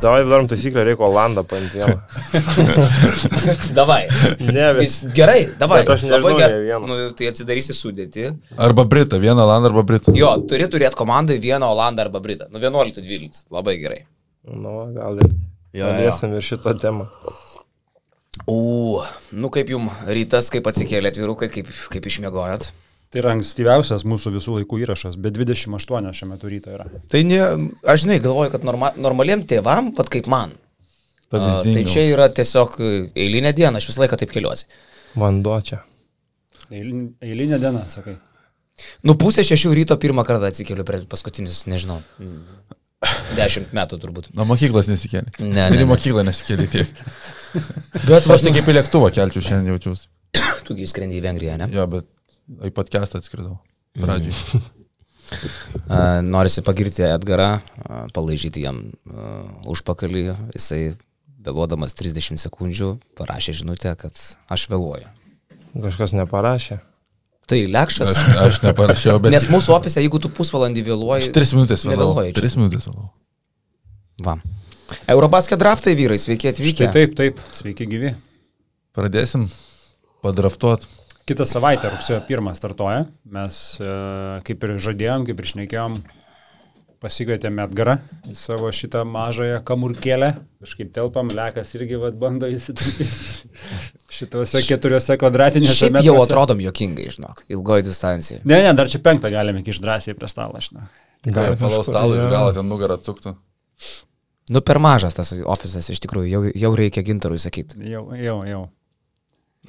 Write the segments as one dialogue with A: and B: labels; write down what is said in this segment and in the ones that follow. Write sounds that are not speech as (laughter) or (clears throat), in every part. A: Davai darom taisyklę, reikia Olandą paimti vieną.
B: (laughs) Davai.
A: Ne, bet
B: Jis- Gerai, davai.
A: Bet aš nežinau
B: Labai
A: nei vieno.
B: Nu, tai atsidarysi sudėti.
C: Arba Britą, vieną Landą arba Britą.
B: Jo, turi turėti komandai vieną Olandą arba Britą. Nu, 11-12. Labai gerai.
A: Nu, gal ir.
B: Jo,
A: Galėsim ir šitą temą.
B: U, nu kaip jums rytas, kaip atsikėlėt vyrukai, kaip, kaip išmiegojot?
D: Tai yra ankstyviausias mūsų visų laikų įrašas, bet 28 šiame turyta yra.
B: Tai ne, aš žinai, galvoju, kad norma, normaliem tėvam, pat kaip man. A, tai čia yra tiesiog eilinė diena, aš visą laiką taip keliuosi.
A: Vanduo čia.
D: Eilin- Eilinė diena, sakai.
B: Nu, pusė šešių ryto pirmą kartą atsikeliu per paskutinius, nežinau, dešimt metų turbūt.
C: Na, mokyklas nesikėlė.
B: Ne,
C: Ir
B: ne,
C: į
B: ne.
C: mokyklą nesikėlė tiek.
B: (laughs) Bet va,
C: Aš tik kaip į lėktuvą kelčiau šiandien jaučiuosi.
B: tu gi skrendi į Vengriją, ne?
C: Jo, bet į podcastą atskridau.
B: Mm.
C: Pradžiai.
B: A, Norisi pagirti Edgarą, a, palaižyti jam a, užpakalį. Jisai vėluodamas 30 sekundžių parašė žinutę, kad aš vėluoju.
A: Kažkas neparašė.
B: Tai lekšas.
C: Aš, aš neparašiau, bet...
B: Nes mūsų ofise, jeigu tu pusvalandį vėluoji.
C: Aš tris minutės vėlavau.
B: nevėluoji čia.
C: Tris minutės vėlavau.
B: Va. Eurobasket draftai vyrai, sveiki atvykę.
C: tai-
D: Štai Tai taip, taip, sveiki gyvi.
C: Pradėsim padraftuot.
D: Kitą savaitę, rugsėjo 1 startuoja, mes e, kaip ir žadėjom, kaip ir šnekėjom, pasikvietėme Edgarą į savo šitą mažąją kamurkėlę, kažkaip telpam, lekas irgi vat, bando
B: (laughs)
D: įsitraukti šituose keturiuose kvadratiniuose
B: Šiaip jau atrodom jokingai, žinok, ilgoji distancija.
D: Ne, ne, dar čia penktą galime kišti drąsiai prie stalo, aš žinau.
C: Gal palau stalą ir
A: jo.
C: gal ten nugarą atsuktų.
B: Nu, per mažas tas ofisas iš tikrųjų, jau, jau reikia gintarui sakyti.
D: Jau, jau, jau.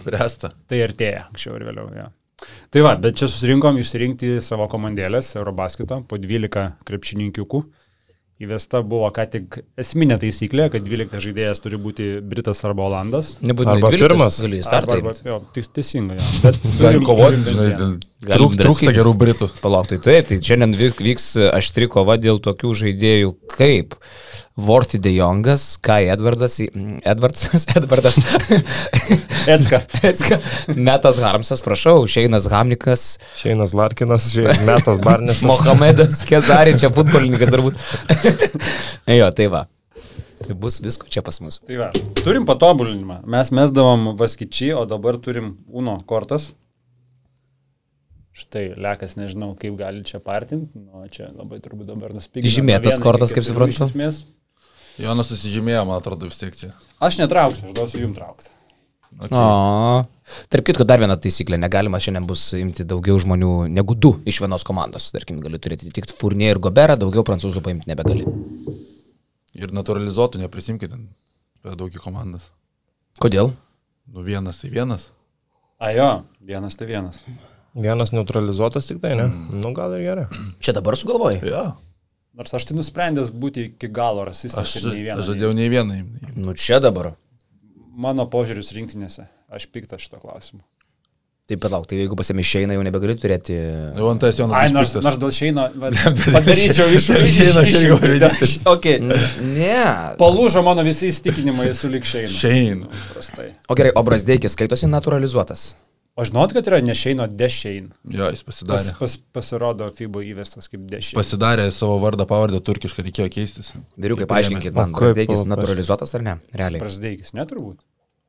C: Bresta.
D: Tai artėja, anksčiau ir vėliau. Ja. Tai va, bet čia susirinkom išsirinkti savo komandėlės Eurobaskito po 12 krepšininkiukų. Įvesta buvo ką tik esminė taisyklė, kad 12 žaidėjas turi būti Britas arba Olandas.
B: Nebūtinai
A: Arba
B: 12
A: pirmas.
B: gali į startą.
D: Arba, arba, jo, tis, teisingai, jo. Bet
C: Galim
D: turim-
C: kovoti,
D: turim bent
C: žinai,
D: vieną.
C: dėl... Trūk, trūksta gerų Britų.
B: Palauk, tai taip, tai šiandien vyk- vyks aštri kova dėl tokių žaidėjų kaip Vorty De Jongas, Kai Edvardas, Edvardas, (laughs) Edvardas,
D: Etska.
B: Etska, Metas Harmsas, prašau, Šeinas Hamnikas,
A: Šeinas Larkinas,
B: (laughs)
A: šeinas Metas
B: Mm.
A: Barnes.
B: Mohamedas Kezarė, čia futbolininkas turbūt. (laughs) jo, tai va. Tai bus visko čia pas mus.
D: Tai va, turim patobulinimą. Mes mesdavom vaskičiai, o dabar turim Uno kortas. Štai, lekas, nežinau, kaip gali čia partinti. Nu, čia labai turbūt dabar nuspigti.
B: Žymėtas kortas, kaip suprantu.
C: Jonas susižymėjo, man atrodo, vis tiek čia.
D: Aš netrauksiu, aš duosiu jums traukti.
B: O. Tark kitko, dar viena taisyklė, negalima šiandien bus imti daugiau žmonių negu du iš vienos komandos. Tarkim, gali turėti tik Furnier ir Goberą, daugiau prancūzų paimti nebegali.
C: Ir naturalizuotų, neprisimkite per daug į komandas.
B: Kodėl?
C: Nu vienas tai vienas.
D: A jo, vienas tai vienas.
A: Vienas neutralizuotas tik tai, ne?
B: Mm.
A: Nu, gal ir gerai.
B: Čia dabar sugalvojai.
C: Jo.
D: Nors aš tai nusprendęs būti iki galo rasistas.
C: Aš
D: ir nei
C: ža-
D: vieno nei-
C: žadėjau nei vieną.
B: Nu čia dabar.
D: Mano požiūris rinktinėse. Aš piktas šito klausimu.
B: Tai palauk, tai jeigu pasėmė išeina, jau nebegali turėti...
C: Nu, antas Jonas.
D: Ai, nors,
C: išpyktas.
D: nors dėl šeino va, padaryčiau iš
C: Dėl Šeino aš irgi galiu
D: (laughs) šeino. Okay.
B: Ne.
D: Palūžo mano visi įsitikinimai su likšeinu.
C: Šein.
D: Prastai.
B: O gerai, o Brasdeikis skaitosi naturalizuotas.
D: O žinot, kad yra nešeino dešein.
C: Jo, jis
D: Pas,
C: pasidarė.
D: pas, pasirodo FIBO įvestas kaip dešein.
C: Pasidarė savo vardą, pavardę turkišką, reikėjo keistis.
B: Vyriukai,
C: Jį
B: paaiškinkit man,
A: O kaip,
B: Brasdeikis
A: o,
B: naturalizuotas ar ne? Realiai.
D: Prasdeikis, neturbūt.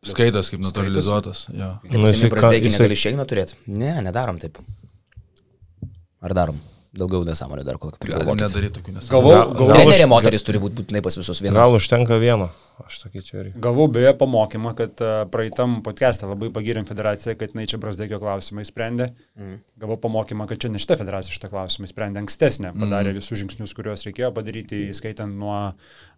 C: priėmė. Skaitos kaip naturalizuotas. Jo.
A: Nu, jisai ką-
B: Brasdeikis
A: jisai-
B: negali išeina turėti. Ne, nedarom taip. Ar darom? Daugiau nesąmonė dar kokio
C: Galim
B: prigalvoti.
C: nedaryti tokių nesąmonių.
D: Gavau,
A: Gal-
D: gavau,
B: Trenerė moteris turi būti būtinai pas visus viena.
A: Gal užtenka vieno, aš sakyčiau. irgi.
D: gavau beje pamokymą, kad a, praeitam podcast'ą labai pagirėm federaciją, kad jinai čia Brasdeikio klausimą įsprendė.
B: Mhm.
D: Mm. Gavau pamokymą, kad čia ne šita federacija šitą klausimą įsprendė ankstesnė,
B: Mhm.
D: padarė mm. visus žingsnius, kuriuos reikėjo padaryti, įskaitant nuo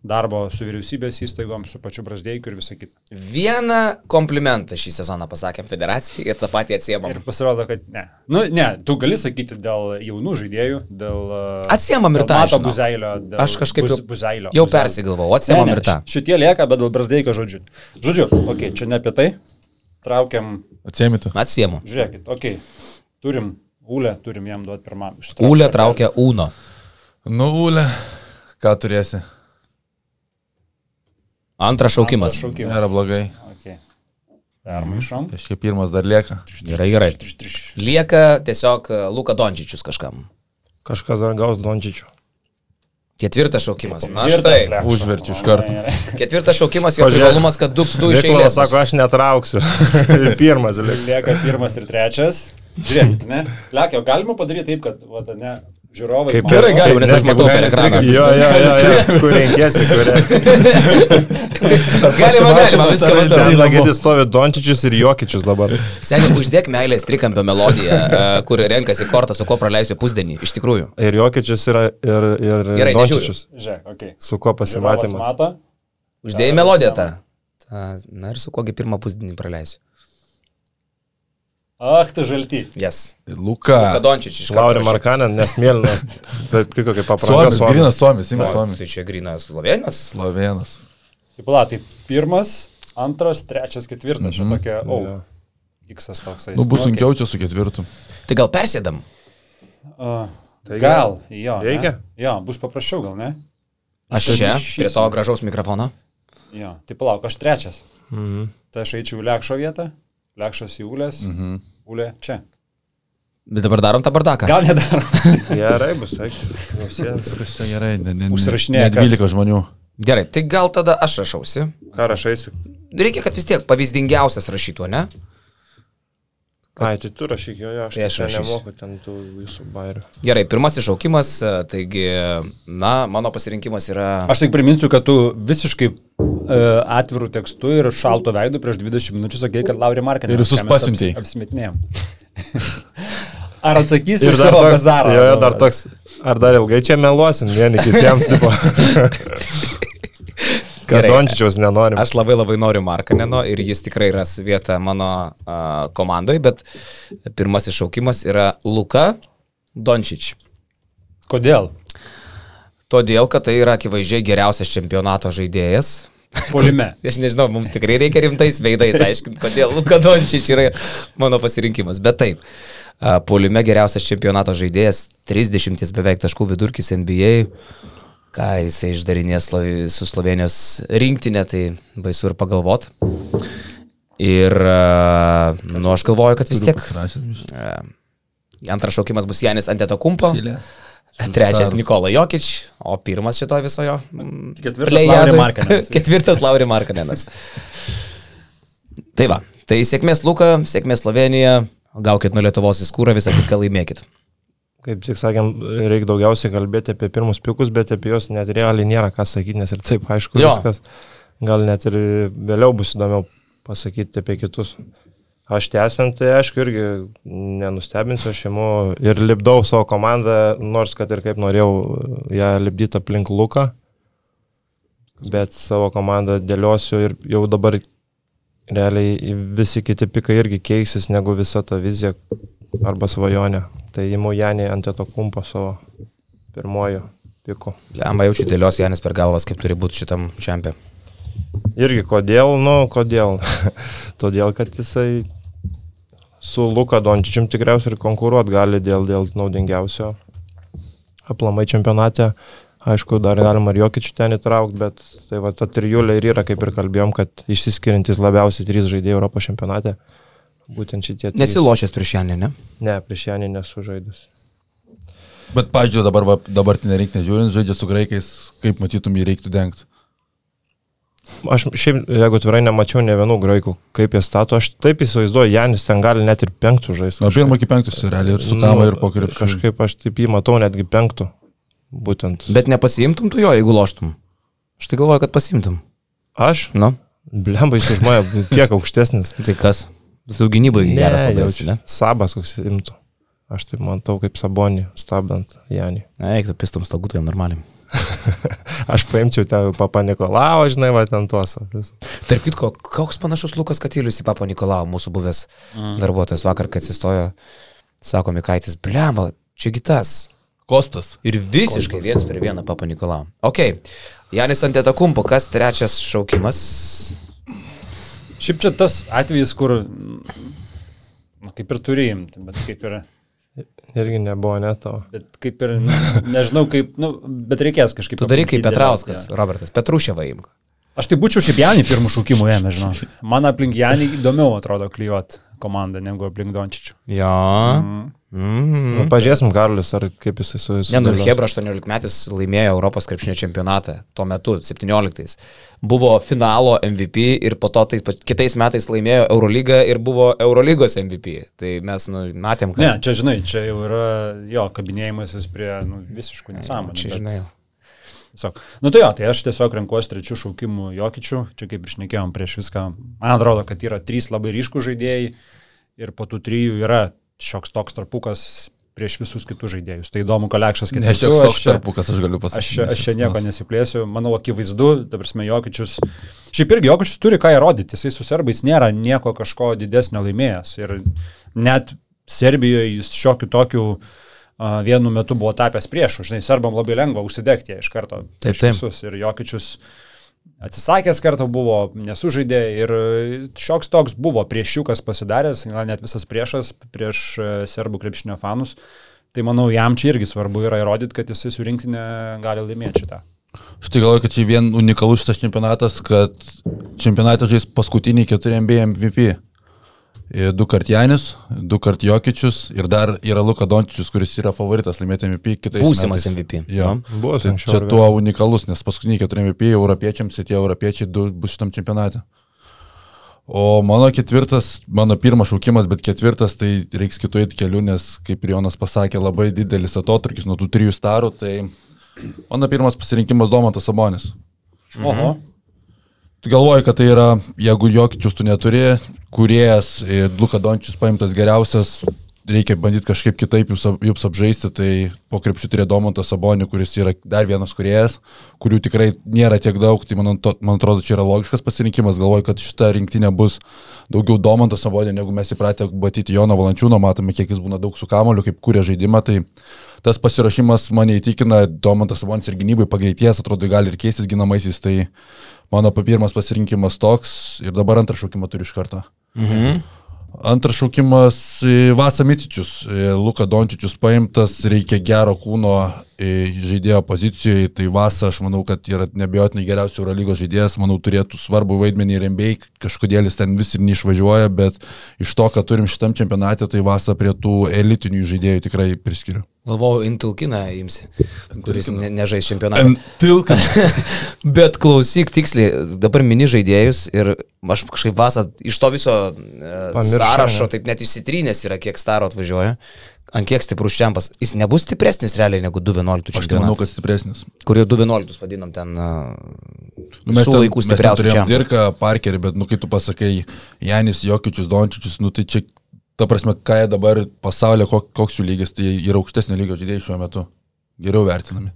D: darbo su vyriausybės įstaigom, su pačiu Brasdeikiu ir visą kitą.
B: Vieną komplimentą šį sezoną pasakėm federacijai ir tą patį atsiemam.
D: Ir pasirodo, kad ne. Nu, ne, tu gali sakyti dėl jaunų žaidėjų, dėl...
B: Atsiemam ir tą,
D: Mato
B: žinau.
D: buzailio. dėl
B: Aš kažkaip jau,
D: Buz- buzailio.
B: jau
D: Buzailio.
B: persigalvojau, atsiemam
D: Ne, ne,
B: ir tą.
D: š- Šitie lieka, bet dėl brazdėjiko žodžių. Žodžiu, okei, okay, čia ne apie tai. Traukiam,
C: Atsiemitų.
B: Atsiemu.
D: žiūrėkit, okei, okay, turim Ūlę, turim jam duoti pirmam. Ištraukiam.
B: Ūlė traukia Uno.
C: Nu, Ule, ką turėsi?
B: Antras šaukimas.
D: Šaukimas.
C: Nėra blogai.
D: Okay. Permaišom.
C: Kažkaip pirmas dar lieka.
B: Gerai, gerai.
D: Triš, triš.
B: Lieka tiesiog e, Luka Dončičius kažkam.
A: Kažkas dar gaus Dončičių.
B: Ketvirtas šaukimas. Na
D: Girtas
B: štai.
D: lėkštas.
C: Užverčiu iš karto.
D: Gerai, gerai.
B: Ketvirtas šaukimas, jo
A: Pažiūrėk.
B: privalumas, kad du, du iš
A: Viklas
B: eilės.
A: sako, aš
B: (laughs)
A: netrauksiu. ir pirmas liks.
D: Lieka pirmas ir trečias. Žiūrėkit, ne? Lekia, galima padaryti taip, kad, va, ta, ne, žiūrovai.
A: Kaip
D: mato.
B: Gerai, galima, nes aš
A: Netgi
B: matau per
A: Bulgarijos
B: ekraną.
A: lyga. Jo, jo, jo,
B: (laughs)
A: jo. kur renkiesi, kur renkiesi.
B: Galima, galima, viską matau.
A: Ten lagėdis stovi Dončičius ir Jokičius dabar.
B: Seniai, uždėk meilės trikampio melodiją, e, kur renkasi kortą, su kuo praleisiu pusdienį. Iš tikrųjų.
A: Ir Jokičius yra, ir, ir
B: Gerai, nežiūriu.
A: Dončičius.
D: Žiūrėk, okei.
A: Su kuo
D: Žiūrovas
A: pasimatymas?
D: mato.
B: Uždėjai melodiją tą. Ta, Na ir su kogi pirmą pusdienį praleisiu.
D: Ach, tu žalty.
B: Jas. Yes.
C: Luka.
B: Kadončič iš karto
A: Lauri
B: rašyk.
A: Markanen, nes mėlynas, taip kaip kaip
C: Suomis,
A: paprašė.
C: Grinas Suomis, Ima Suomis.
B: Tai čia grinas slovėnas.
C: Slovenas.
D: Taip, la, tai pirmas, antras, trečias, ketvirtas. Čia tokia, o,
A: Jo.
D: X toksai.
C: Mhm. Nu, bus
D: okei.
C: sunkiau čia su ketvirtu.
B: Tai gal persėdam?
D: A,
A: Tai
D: Gal, jo. ne?
A: Reikia?
D: Jo, bus paprasčiau gal, ne?
B: Aš
D: Aš
B: čia,
D: šis-
B: prie savo gražaus mikrofono.
D: Jo, tai palauk, aš trečias.
A: Mhm.
D: Tai aš eičiau į Lekšo vietą, Lekšas į Ulės, Ulė čia.
B: Bet dabar darom tą bardaką.
D: Gal nedarom.
A: Gerai, bus, Nu, eik.
C: Viskas čia gerai, ne, ne, ne,
D: Užsirašinėja
C: ne 12 žmonių.
B: Gerai, tai gal tada aš rašausi.
A: Ką rašaisi?
B: Reikia, kad vis tiek pavyzdingiausias rašytų, ne?
A: Ai, tai tu rašyk, jo, jo, aš,
B: Tai aš
A: tai aš
B: rašysiu.
A: nemoku ten tų visų bairių.
B: Gerai, pirmasis šaukimas, e, taigi, na, mano pasirinkimas yra...
D: (laughs) Aš tik priminsiu, kad tu visiškai uh, atvirų tekstų ir šalto veidų prieš 20 minučių sakei, kad Lauri Markinė.
C: Ir visus pasiuntei.
D: Apsimetinėjom. (laughs) Ar atsakysi
A: Ir
D: į
A: dar
D: savo
A: toks,
D: bazarą?
A: jo, jo, dar toks, ar dar ilgai čia meluosim vieni kitiems,
B: (laughs)
A: tipo. Kad
B: Gerai.
A: Dončičiaus nenorim.
B: Aš labai labai noriu Markaneno ir jis tikrai ras vietą mano uh, komandoje, bet pirmasis šaukimas yra Luka Dončič.
D: Kodėl?
B: Todėl, kad tai yra akivaizdžiai geriausias čempionato žaidėjas.
D: Polime.
A: (laughs)
B: Aš nežinau, mums tikrai reikia rimtais veidais aiškinti, kodėl Luka Dončič yra mano pasirinkimas. Bet taip, a, puolime geriausias čempionato žaidėjas, 30 beveik taškų vidurkis NBA. Ką jisai išdarinės Slovi- su Slovenijos rinktinė, tai baisu ir pagalvot. Ir, a, nu, aš galvoju, kad vis tiek
C: Pasirašęs.
B: a, antras šaukimas bus Janis Antetokumpo,
C: Filė.
B: trečias
C: Superstars.
B: Nikola Jokič, o pirmas šito visojo
D: Ketvirtas
B: plejadoj-
D: Lauri Markanenas.
B: (laughs) Ketvirtas Lauri Markanenas. Tai va, tai sėkmės Luka, sėkmės Slovenija, gaukit nuo Lietuvos įskūrą, visą kitką laimėkit.
A: Kaip tik sakėm, reikia daugiausiai kalbėti apie pirmus pikus, bet apie juos net realiai nėra ką sakyti, nes ir taip aišku
B: Jo.
A: jo. viskas. Gal net ir vėliau bus įdomiau pasakyti apie kitus. Aš tęsiant, tai aišku, irgi nenustebinsiu, aš imu ir lipdau savo komandą, nors kad ir kaip norėjau e, ją lipdyti aplink Luką, bet savo komandą dėliosiu ir jau dabar realiai visi kiti pikai irgi keisis negu visa ta vizija arba svajonė. Tai įmu Janį ant to kumpo savo pirmojo piku.
B: Lemba jaučiu dėlios Janis per galvas, kaip turi būti šitam čempionui.
A: Irgi kodėl, nu, kodėl? (laughs) Todėl, kad jisai su Luka Dončičium tikriausiai ir konkuruot gali dėl, dėl naudingiausio aplamai čempionate. Aišku, dar galima ir jokičių ten įtraukti, bet tai va ta trijulė ir yra, kaip ir kalbėjom, kad išsiskiriantis labiausiai trys žaidėjai Europos čempionate. Būtent šitie. trys.
B: Nesilošęs prieš Janį, ne?
A: Ne, prieš Janį nesužaidus.
C: Bet, pažiūrėjau, dabar, va, dabartinė reikia žiūrint, žaidžia su graikais, kaip matytum, jį reiktų dengti.
A: Aš šiaip, jeigu atvirai, nemačiau ne vienų graikų, kaip jie stato. Aš taip įsivaizduoju, Janis ten gali net ir penktų žaisti.
C: Nuo pirmo iki penktus, realiai, ir
D: Nu,
C: su kama, ir po krepšiu.
A: Kažkaip aš taip jį matau netgi penktų. Būtent.
B: Bet nepasiimtum tu jo, jeigu loštum. Aš tai galvoju, kad pasiimtum.
A: Aš,
B: Nu,
A: blemba, jis už mane kiek aukštesnis.
B: tai kas? Tu gynybai (laughs) geras labai esi,
A: jaučiu.
B: ne?
A: Sabas koks imtų. Aš taip matau kaip sabonį, stabdant Janį.
B: Eik, tu pistum stagutojam normaliai.
A: Aš paimčiau ten papa Nikolau, žinai, va ten tuos. va, vis.
B: Tark kitko, koks panašus Lukas Katylius į Papą Nikolau, mūsų buvęs mm. darbuotojas vakar, kai atsistojo, sako Mikaitis, blemba, čia kitas.
C: Kostas.
B: Ir visiškai viens per vieną Papą Nikolau. Ok, Janis Antetokumpo, kas trečias šaukimas?
D: Šiaip čia tas atvejis, kur mm, nu, kaip ir turi imti, bet kaip ir,
A: Irgi nebuvo neto.
D: bet kaip ir nu, nežinau kaip, nu, bet reikės kažkaip.
B: Tu darai kaip
D: aplinkyti,
B: Petrauskas,
D: jo.
B: ja. Robertas, Petrušėva imk.
D: Aš tai būčiau šiaip Janį pirmų šaukimų ėmė, žinau. Man aplink Janį įdomiau atrodo klyjuot komandą negu aplink Dončičių.
B: Jo. Mm. Mm.
A: Nu, pažiūrėsim, Karlis, ar kaip jisai su jais.
B: Ne, nu, Hebra 18 metais laimėjo Europos krepšinio čempionatą tuo metu, 17. Buvo finalo MVP ir po to tais, pat- kitais metais laimėjo Eurolygą ir buvo Eurolygos MVP. Tai mes nu, matėm, kad...
D: Ne, čia žinai, čia jau yra jo kabinėjimasis prie nu, visiškų nesąmonės.
B: Čia, žinai, jau.
D: Tiesiog. Nu tai jo, tai aš tiesiog renkuosi trečių šaukimų jokičių, čia kaip išnekėjom prieš viską. Man atrodo, kad yra trys labai ryškų žaidėjai ir po tų trijų yra šioks toks tarpukas prieš visus kitus žaidėjus. Tai įdomu, kolekšas
C: Ne, šioks toks tarpukas, aš galiu
D: Aš,
C: pasakyti.
D: čia- aš čia nieko nesiplėsiu, manau, akivaizdu, dabar mes Jokičius, šiaip irgi Jokičius turi ką įrodyti, jisai su serbais nėra nieko kažko didesnio laimėjęs ir net Serbijoje jis šiokių tokių a, vienu metu buvo tapęs priešų, žinai, serbam labai lengva užsidegti jie iš karto.
B: Taip,
D: prieš
B: taip.
D: Visus. Ir Jokičius atsisakęs kartą buvo, nesužaidė ir šioks toks buvo priešiukas pasidaręs, gal net visas priešas prieš e, serbų krepšinio fanus. Tai manau, jam čia irgi svarbu yra įrodyti, kad jisai surinktinė gali laimėti šitą.
C: Aš tai galvoju, kad čia vien unikalus šitas čempionatas, kad čempionatą žais paskutiniai keturi NBA MVP. Ir Du kart Janis, du kart Jokičius ir dar yra Luka Dončičius, kuris yra favoritas laimėti MVP kitais
B: Būsimas
C: metais.
B: MVP.
C: Jo.
B: Nu.
A: Buvo
C: Tai
A: anksčiau
C: čia
A: ar
C: tuo unikalus, nes paskutiniai keturi MVP europiečiams ir tie europiečiai du bus šitam čempionate. O mano ketvirtas, mano pirmas šaukimas, bet ketvirtas, tai reiks kitų eiti kelių, nes kaip ir Jonas pasakė, labai didelis atotrukis nuo tų trijų starų, tai mano pirmas pasirinkimas Domantas Sabonis. Mhm.
D: Oho.
C: Tu galvoji, kad tai yra, jeigu jokičius tu neturi, kuriejas ir Luka Dončius paimtas geriausias, reikia bandyti kažkaip kitaip jūs, ap- jūs apžaisti, tai po krepšių turėjo Domantas Sabonį, kuris yra dar vienas kuriejas, kurių tikrai nėra tiek daug, tai man, anto- man atrodo, čia yra logiškas pasirinkimas, galvoju, kad šita rinktinė bus daugiau Domantas Sabonį, negu mes įpratę matyti Jono Valančiūno, matome, kiek jis būna daug su kamoliu, kaip kuria žaidimą, tai tas pasirašymas mane įtikina, Domantas Sabonis ir gynybai pagreities, atrodo, gali ir keistis ginamaisiais, tai mano pa- pirmas pasirinkimas toks ir dabar antrą šaukimą turiu iš karto.
B: Mhm.
C: Antras šaukimas e, Vasa Mitičius. E, Luka Dončičius paimtas, reikia gero kūno e, žaidėjo pozicijoje. Tai Vasa, aš manau, kad yra nebejotinai geriausias Eurolygos žaidėjas, manau, turėtų svarbu vaidmenį ir MBA, kažkodėl jis ten vis ir neišvažiuoja, bet iš to, ką turim šitam čempionate, tai Vasa prie tų elitinių žaidėjų tikrai priskiriu.
B: Galvojau, Intilkiną imsi, kuris ne, nežais čempionatą.
C: Antilka.
B: (laughs) Bet klausyk tiksliai, dabar mini žaidėjus ir aš kažkaip vasą iš to viso Pamiršau,
A: Pamiršau,
B: sąrašo,
A: ne?
B: taip net išsitrynęs yra, kiek staro atvažiuoja, ant kiek stiprus čempas. Jis nebus stipresnis realiai negu 2.11
C: Aš tai manau, kad
B: čempionatas,
C: stipresnis.
B: kur jau 2.11 vadinom ten uh,
C: Nu, mes
B: visų
C: ten-
B: laikų
C: mes ten
B: stipriausiu
C: Turėjom
B: čempu.
C: Dirką, Parkerį, bet, nu, kai tu pasakai, Janis, Jokičius, Dončičius, nu, tai čia, ta prasme, ką jie dabar pasaulio, kok, koks jų lygis, tai yra aukštesnio lygio žaidėjai šiuo metu. Geriau vertinami.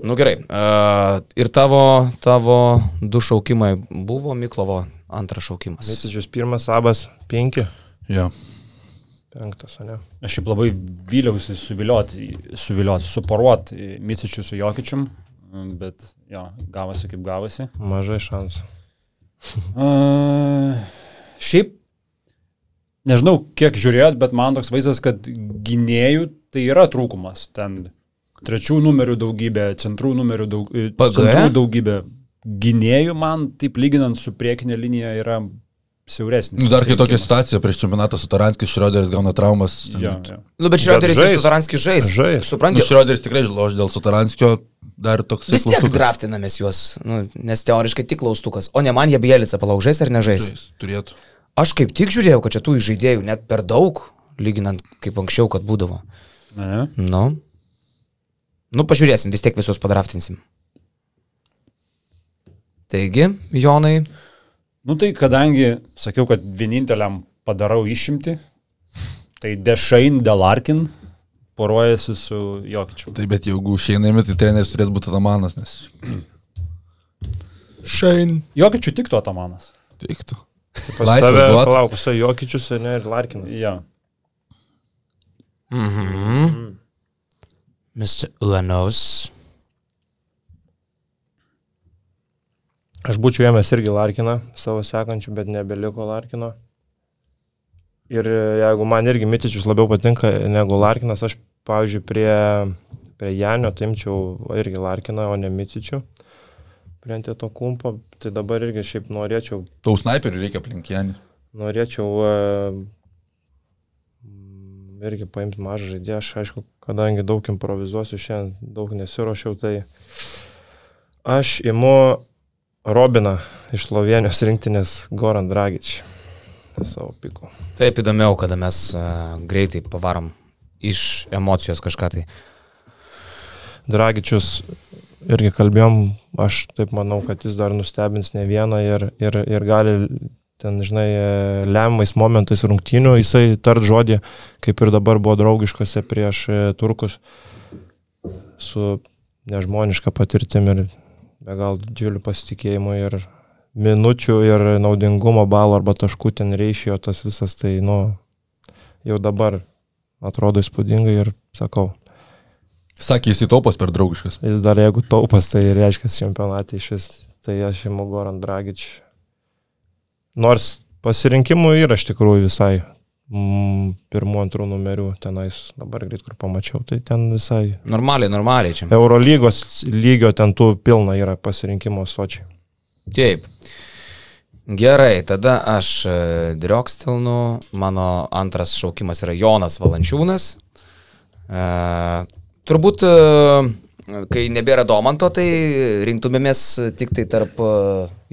B: Nu gerai, uh, ir tavo, tavo du šaukimai buvo Miklovo antras šaukimas.
A: Mitičius pirmas, abas penki,
C: Jo.
A: penktas, ne?
D: Aš šiaip labai vyliausi suvilioti, suvilioti, suporuoti Misičiu su Jokičium, bet jo, gavosi kaip gavosi.
A: Mažai šansų.
D: A, šiaip, nežinau, kiek žiūrėjot, bet man toks vaizdas, kad gynėjų tai yra trūkumas. Ten trečių numerių daugybė, centrų numerių daug, e,
B: PG?
D: centrų daugybė. Gynėjų man, taip lyginant su priekinė linija, yra siauresnis.
C: Nu, dar kitokia
D: pasirinkimas.
C: situacija, prieš čempionatą su Taranskis Šrioderis gauna traumas.
D: Jo, jo.
B: Nu bet Šrioderis ir
A: žais.
B: Sudaranskis žais.
A: Žais.
C: Nu,
B: Supranti,
C: Šrioderis tikrai loš dėl Sutaranskio, dar toks.
B: Vis tiek draftinamės juos, nu, nes teoriškai tik klaustukas, o ne man jie bėlica palaužės ar nežais.
C: Turėtų.
B: Aš kaip tik žiūrėjau, kad čia tų žaidėjų net per daug, lyginant kaip anksčiau, kad būdavo.
D: Ne?
B: Nu. Nu, pažiūrėsim, vis tiek visus padraftinsim. Taigi, Jonai,
D: Nu tai kadangi sakiau, kad vieninteliam padarau išimti, tai Dešain Delarkin poruojasi su Jokičiu.
C: Tai bet jeigu išeinami, tai treneris turės būti Atamanas, nes... Šein.
D: Jokičiu tiktų Atamanas.
C: Teiktų.
A: Tave
C: Laisvės duot.
A: palauk, visai Jokičius ne, ir Larkinas.
D: Ja.
B: Mr. Ulanos.
A: Aš būčiau ėmęs irgi Larkiną, savo sekančių, bet nebeliko Larkino. Ir e, jeigu man irgi Mitičius labiau patinka negu Larkinas, aš, pavyzdžiui, prie, prie Janio timčiau irgi Larkiną, o ne Mitičių. Prie ant to kumpo, tai dabar irgi šiaip norėčiau,
C: Tau sniperių reikia aplinkienį.
A: norėčiau e, mm, irgi paimti mažą žaidėją. Aš, aišku, kadangi daug improvizuosiu, šiandien daug nesiuošiau, tai aš imu Robiną iš Slovenijos rinktinės Goran Dragič savo piko.
B: Taip įdomiau, kada mes a, greitai pavarom iš emocijos kažką tai.
A: Dragičius irgi kalbėjom, aš taip manau, kad jis dar nustebins ne vieną ir, ir, ir gali ten, žinai, e, lemiamais momentais rungtynių jisai tart žodį, kaip ir dabar buvo draugiškose prieš e, turkus su nežmoniška patirtim ir be gal didžiuliu pasitikėjimu ir minučių ir naudingumo balų arba taškų ten reišijo tas visas, tai, nu, jau dabar atrodo įspūdingai ir sakau,
C: Sakė, jis įtaupas per draugiškas.
A: Jis dar jeigu taupas, tai reiškia čempionatė iš vis. Tai aš įmu Goran Dragič. Nors pasirinkimų yra iš tikrųjų visai. Mm, pirmų, antrų numerių tenais, dabar greit kur pamačiau, tai ten visai.
B: Normaliai, normaliai čia.
A: Eurolygos lygio ten tų pilna yra pasirinkimo sočiai. (laughs)
B: Taip. Gerai, tada aš e, driokstelnu, mano antras šaukimas yra Jonas Valančiūnas. E, turbūt, e, kai nebėra domanto, tai rinktumėmės tik tai tarp e,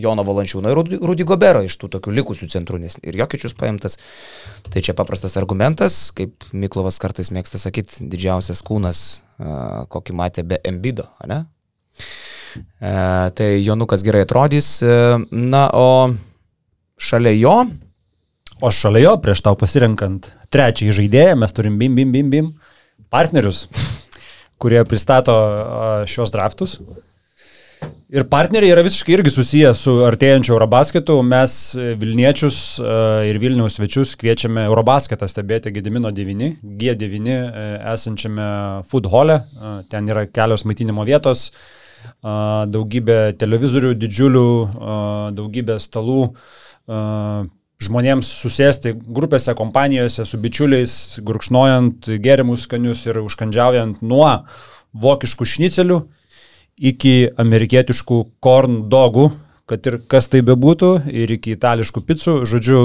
B: Jono Valančiūno ir Rudi- Rudy Gobero iš tų tokių likusių centrų, nes ir Jokičius paimtas. Tai čia paprastas argumentas, kaip Miklovas kartais mėgsta sakyti, didžiausias kūnas, e, kokį matė be Embido, ne? E, tai Jonukas gerai atrodys. E, Na, o šalia jo,
D: O šalia jo, prieš tau pasirinkant trečiąjį žaidėją, mes turim bim, bim, bim, bim partnerius, kurie pristato a, šios draftus. Ir partneriai yra visiškai irgi susiję su artėjančiu Eurobasketu. Mes e, Vilniečius e, ir Vilniaus svečius kviečiame Eurobasketą stebėti Gedimino 9, G9 e, esančiame food hole. E, Ten yra kelios maitinimo vietos, e, daugybė televizorių didžiulių, e, daugybė stalų. e, Žmonėms susėsti grupėse, kompanijose, su bičiuliais, gurkšnojant gėrimus skanius ir užkandžiaujant nuo vokiškų šnicelių iki amerikietiškų corn dogų, kad ir kas tai bebūtų, ir iki itališkų picų. Žodžiu,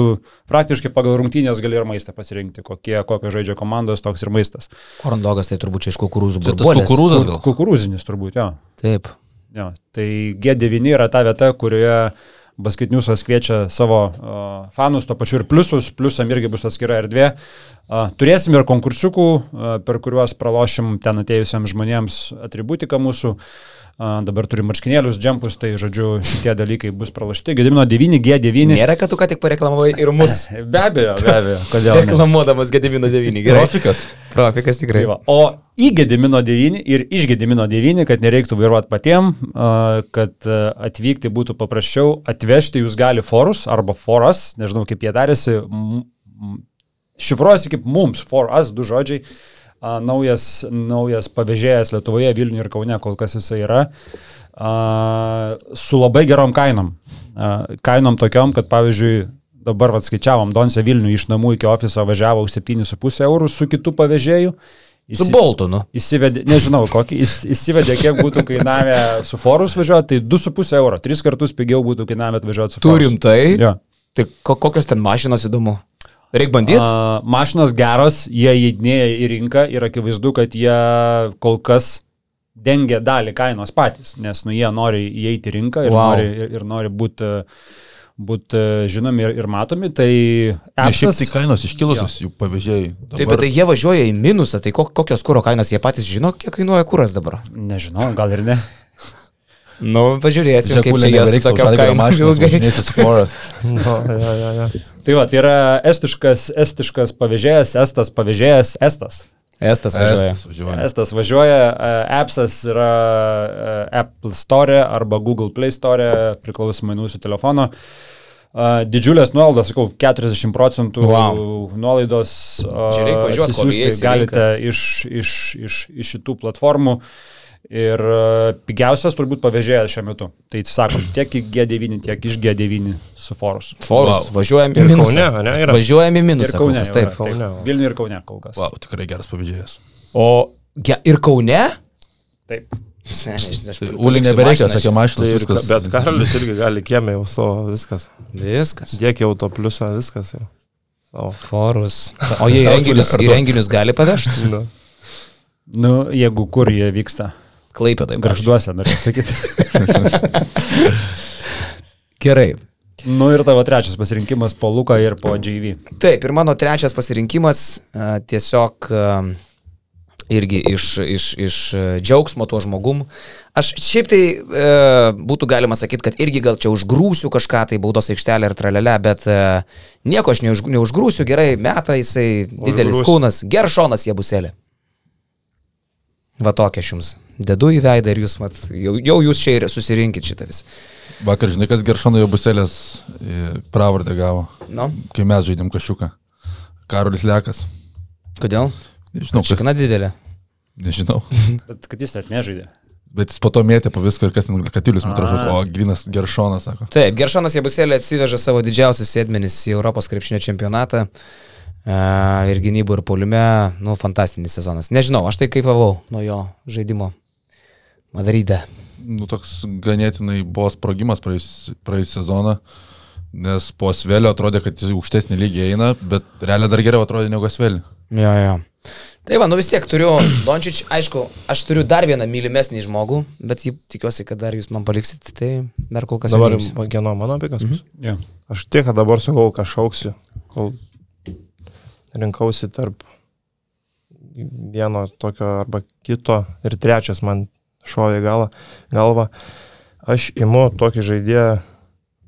D: praktiškai pagal rungtynės gali ir maistą pasirinkti, kokie, kokios žaidžia komandos, toks ir maistas.
B: Korondogas tai turbūt čia iš kukurūzų
C: Tai tas
B: burbuolės.
C: kukurūzas gal.
D: Kukurūzinis turbūt, jo.
B: Taip.
D: jo. Tai G9 yra ta vieta, kurioje basketniusas kviečia savo uh, fanus, to pačiu ir pliusus, pliusam irgi bus atskira erdvė. Uh, turėsim ir konkursiukų, uh, per kuriuos pralošim ten atėjusiems žmonėms atributiką mūsų. Uh, dabar turim marškinėlius, džempus, tai žodžiu, šitie dalykai bus pralošti. Gedimino 9, G9.
B: Nėra, kad tu ką tik pareklamavai ir mus.
D: Be abejo, (laughs) be abejo, kodėl. ne.
B: Reklamuodamas Gedimino 9. Gerai.
C: Grafikas.
B: Grafikas tikrai.
D: Tai va, O į Gedimino 9 ir iš Gedimino 9, kad nereiktų vairuoti patiem, a, kad a, atvykti būtų paprasčiau, atvežti jūs gali forus arba foras, nežinau kaip jie darėsi, m- m- šifruojasi kaip mums, foras, du žodžiai. A, Naujas, naujas pavežėjas Lietuvoje, Vilniuje ir Kaune kol kas jisai yra, a, su labai gerom kainom. A, Kainom tokiom, kad pavyzdžiui, dabar atskaičiavom, Donse Vilnių iš namų iki ofiso važiavo už 7,5 eurų su kitu pavežėju.
B: Su nu. Boltonu.
D: Įsivedė, nežinau kokį, įs, įsivedė, kiek būtų kainavę su forus važiuoti, tai 2,5 euro, 3 kartus pigiau būtų kainavę atvažiuoti su
B: Turim
D: forus.
B: tai.
D: Jo.
B: Tai ko, kokios ten mašinos įdomu? Reikia bandyti?
D: A, mašinos geros, jie įdinėja į rinką ir akivaizdu, kad jie kol kas dengia dalį kainos patys, nes nu, jie nori įeiti į rinką ir
B: Wow.
D: wow. nori, ir, ir nori būti būt e, žinomi ir, ir matomi, tai
C: Nes šiaip
D: apsas,
C: tai kainos iškilusios, jų pavyzdžiai.
B: Taip, bet tai jie važiuoja į minusą, tai ko- kokios kūro kainos jie patys žino, kiek kainuoja kūras dabar.
D: nežinau, gal ir ne.
B: Nu, pažiūrėsim, kaip čia jie su tokia kaina ilgai.
C: Mašinas,
B: (laughs)
C: foras.
A: No, ja, ja, ja.
D: Tai va, tai yra estiškas, estiškas pavežėjas, estas pavežėjas, estas.
B: Estas važiuoja.
C: Estas važiuoja.
D: Estas važiuoja, e, appsas yra e, Apple Store arba Google Play Store, priklausomai nuo jūsų telefono. E, Didžiulės nuolaidos, sakau, 40 procentų
B: Wow.
D: nuolaidos. e,
B: Čia reik važiuot, kol įeisi į
D: galite iš, iš, iš, iš šitų platformų. Ir e, pigiausias turbūt pavėžėjas šiuo metu. Tai sakom, tiek į G9, tiek iš G9 su forus.
B: Forus,
C: Wow.
B: važiuojam į
A: Ir
B: minusą.
A: Kaune, ne, yra.
B: Važiuojam į
D: Ir
B: minusą. kol
D: Kaune.
B: kas,
D: jau yra,
B: Taip.
D: taip.
A: Kaune.
D: Vilniuje ir Kaune kol kas.
C: Vau, tikrai geras pavyzdys.
B: O ge, ir Kaune?
D: Taip.
B: Ne, nežinau, aš
C: Uli
B: paliksiu
C: nebereikia,
B: mašiną.
C: sakė
A: Tai
C: mašinas,
A: ir,
C: viskas.
A: bet Karolis irgi gali kiemė jau savo, viskas.
B: Viskas.
A: Dėk jau to pliusą, viskas jau. O,
B: Forus. O jie į
C: Tau
B: renginius, į
C: sulekarduot.
B: renginius gali pavežti?
A: nu.
D: Nu, jeigu kur jie vyksta.
B: Klaipėdai. pavyzdžiui.
D: Garžduose, noriu sakyti.
B: Gerai.
D: (laughs) nu ir tavo trečias pasirinkimas po Luką ir po JV.
B: Taip, ir mano trečias pasirinkimas a, tiesiog a, irgi iš, iš, iš a, džiaugsmo tuo žmogum. Aš šiaip tai e, būtų galima sakyti, kad irgi gal čia užgrūsiu kažką, tai baudos aikštelė ir tralelė, bet e, nieko aš neuž, neužgrūsiu, gerai, meta jisai didelis
A: Užgrūsi.
B: kūnas, geršonas jie buselė. Va tokia aš jums. Dedu į veidą ir jūs, mat, jau, jau jūs čia ir susirinkit šitą vis.
C: Vakar žinai, kas Geršono jau buselės e, pravardę gavo,
B: Nu,
C: kai mes žaidėm kašiuką. Karolis Lekas.
B: kodėl?
C: Nežinau, Nu, kad,
B: Šikna didelė.
C: nežinau.
D: Bet kad jis net nežaidė.
C: Bet jis po to mėtė po visko ir kas ten katilius, man atrodo,
D: A.
C: o Grinas Geršonas sako.
B: Taip, Geršanas Jebusėlė atsiveža savo didžiausius sėdmenis į Europos krepšinio čempionatą. E, Ir gynybų, ir poliume, nu, fantastinis sezonas. Nežinau, aš tai kaivavau nuo jo žaidimo. Madarydė.
C: Nu, toks ganėtinai buvo sprogimas praėjus, praėjus sezoną, nes po Svelio atrodė, kad jis į aukštesnį lygį eina, bet realiai dar geriau atrodė negu Svelio.
B: Jo, jo. Tai va, nu vis tiek turiu, Dončič, aišku, aš turiu dar vieną mylimesnį žmogų, bet jį tikiuosi, kad dar jūs man paliksit, tai dar kol kas Mhm.
A: Dabar
B: neimsiu.
A: kieno mano pikas? Mm -hmm.
D: Ja.
A: Aš tik ką dabar sakau, ką šauksiu, kol rinkausi tarp vieno tokio arba kito ir trečias man šovė į galą, galvą. Aš imu tokį žaidėją,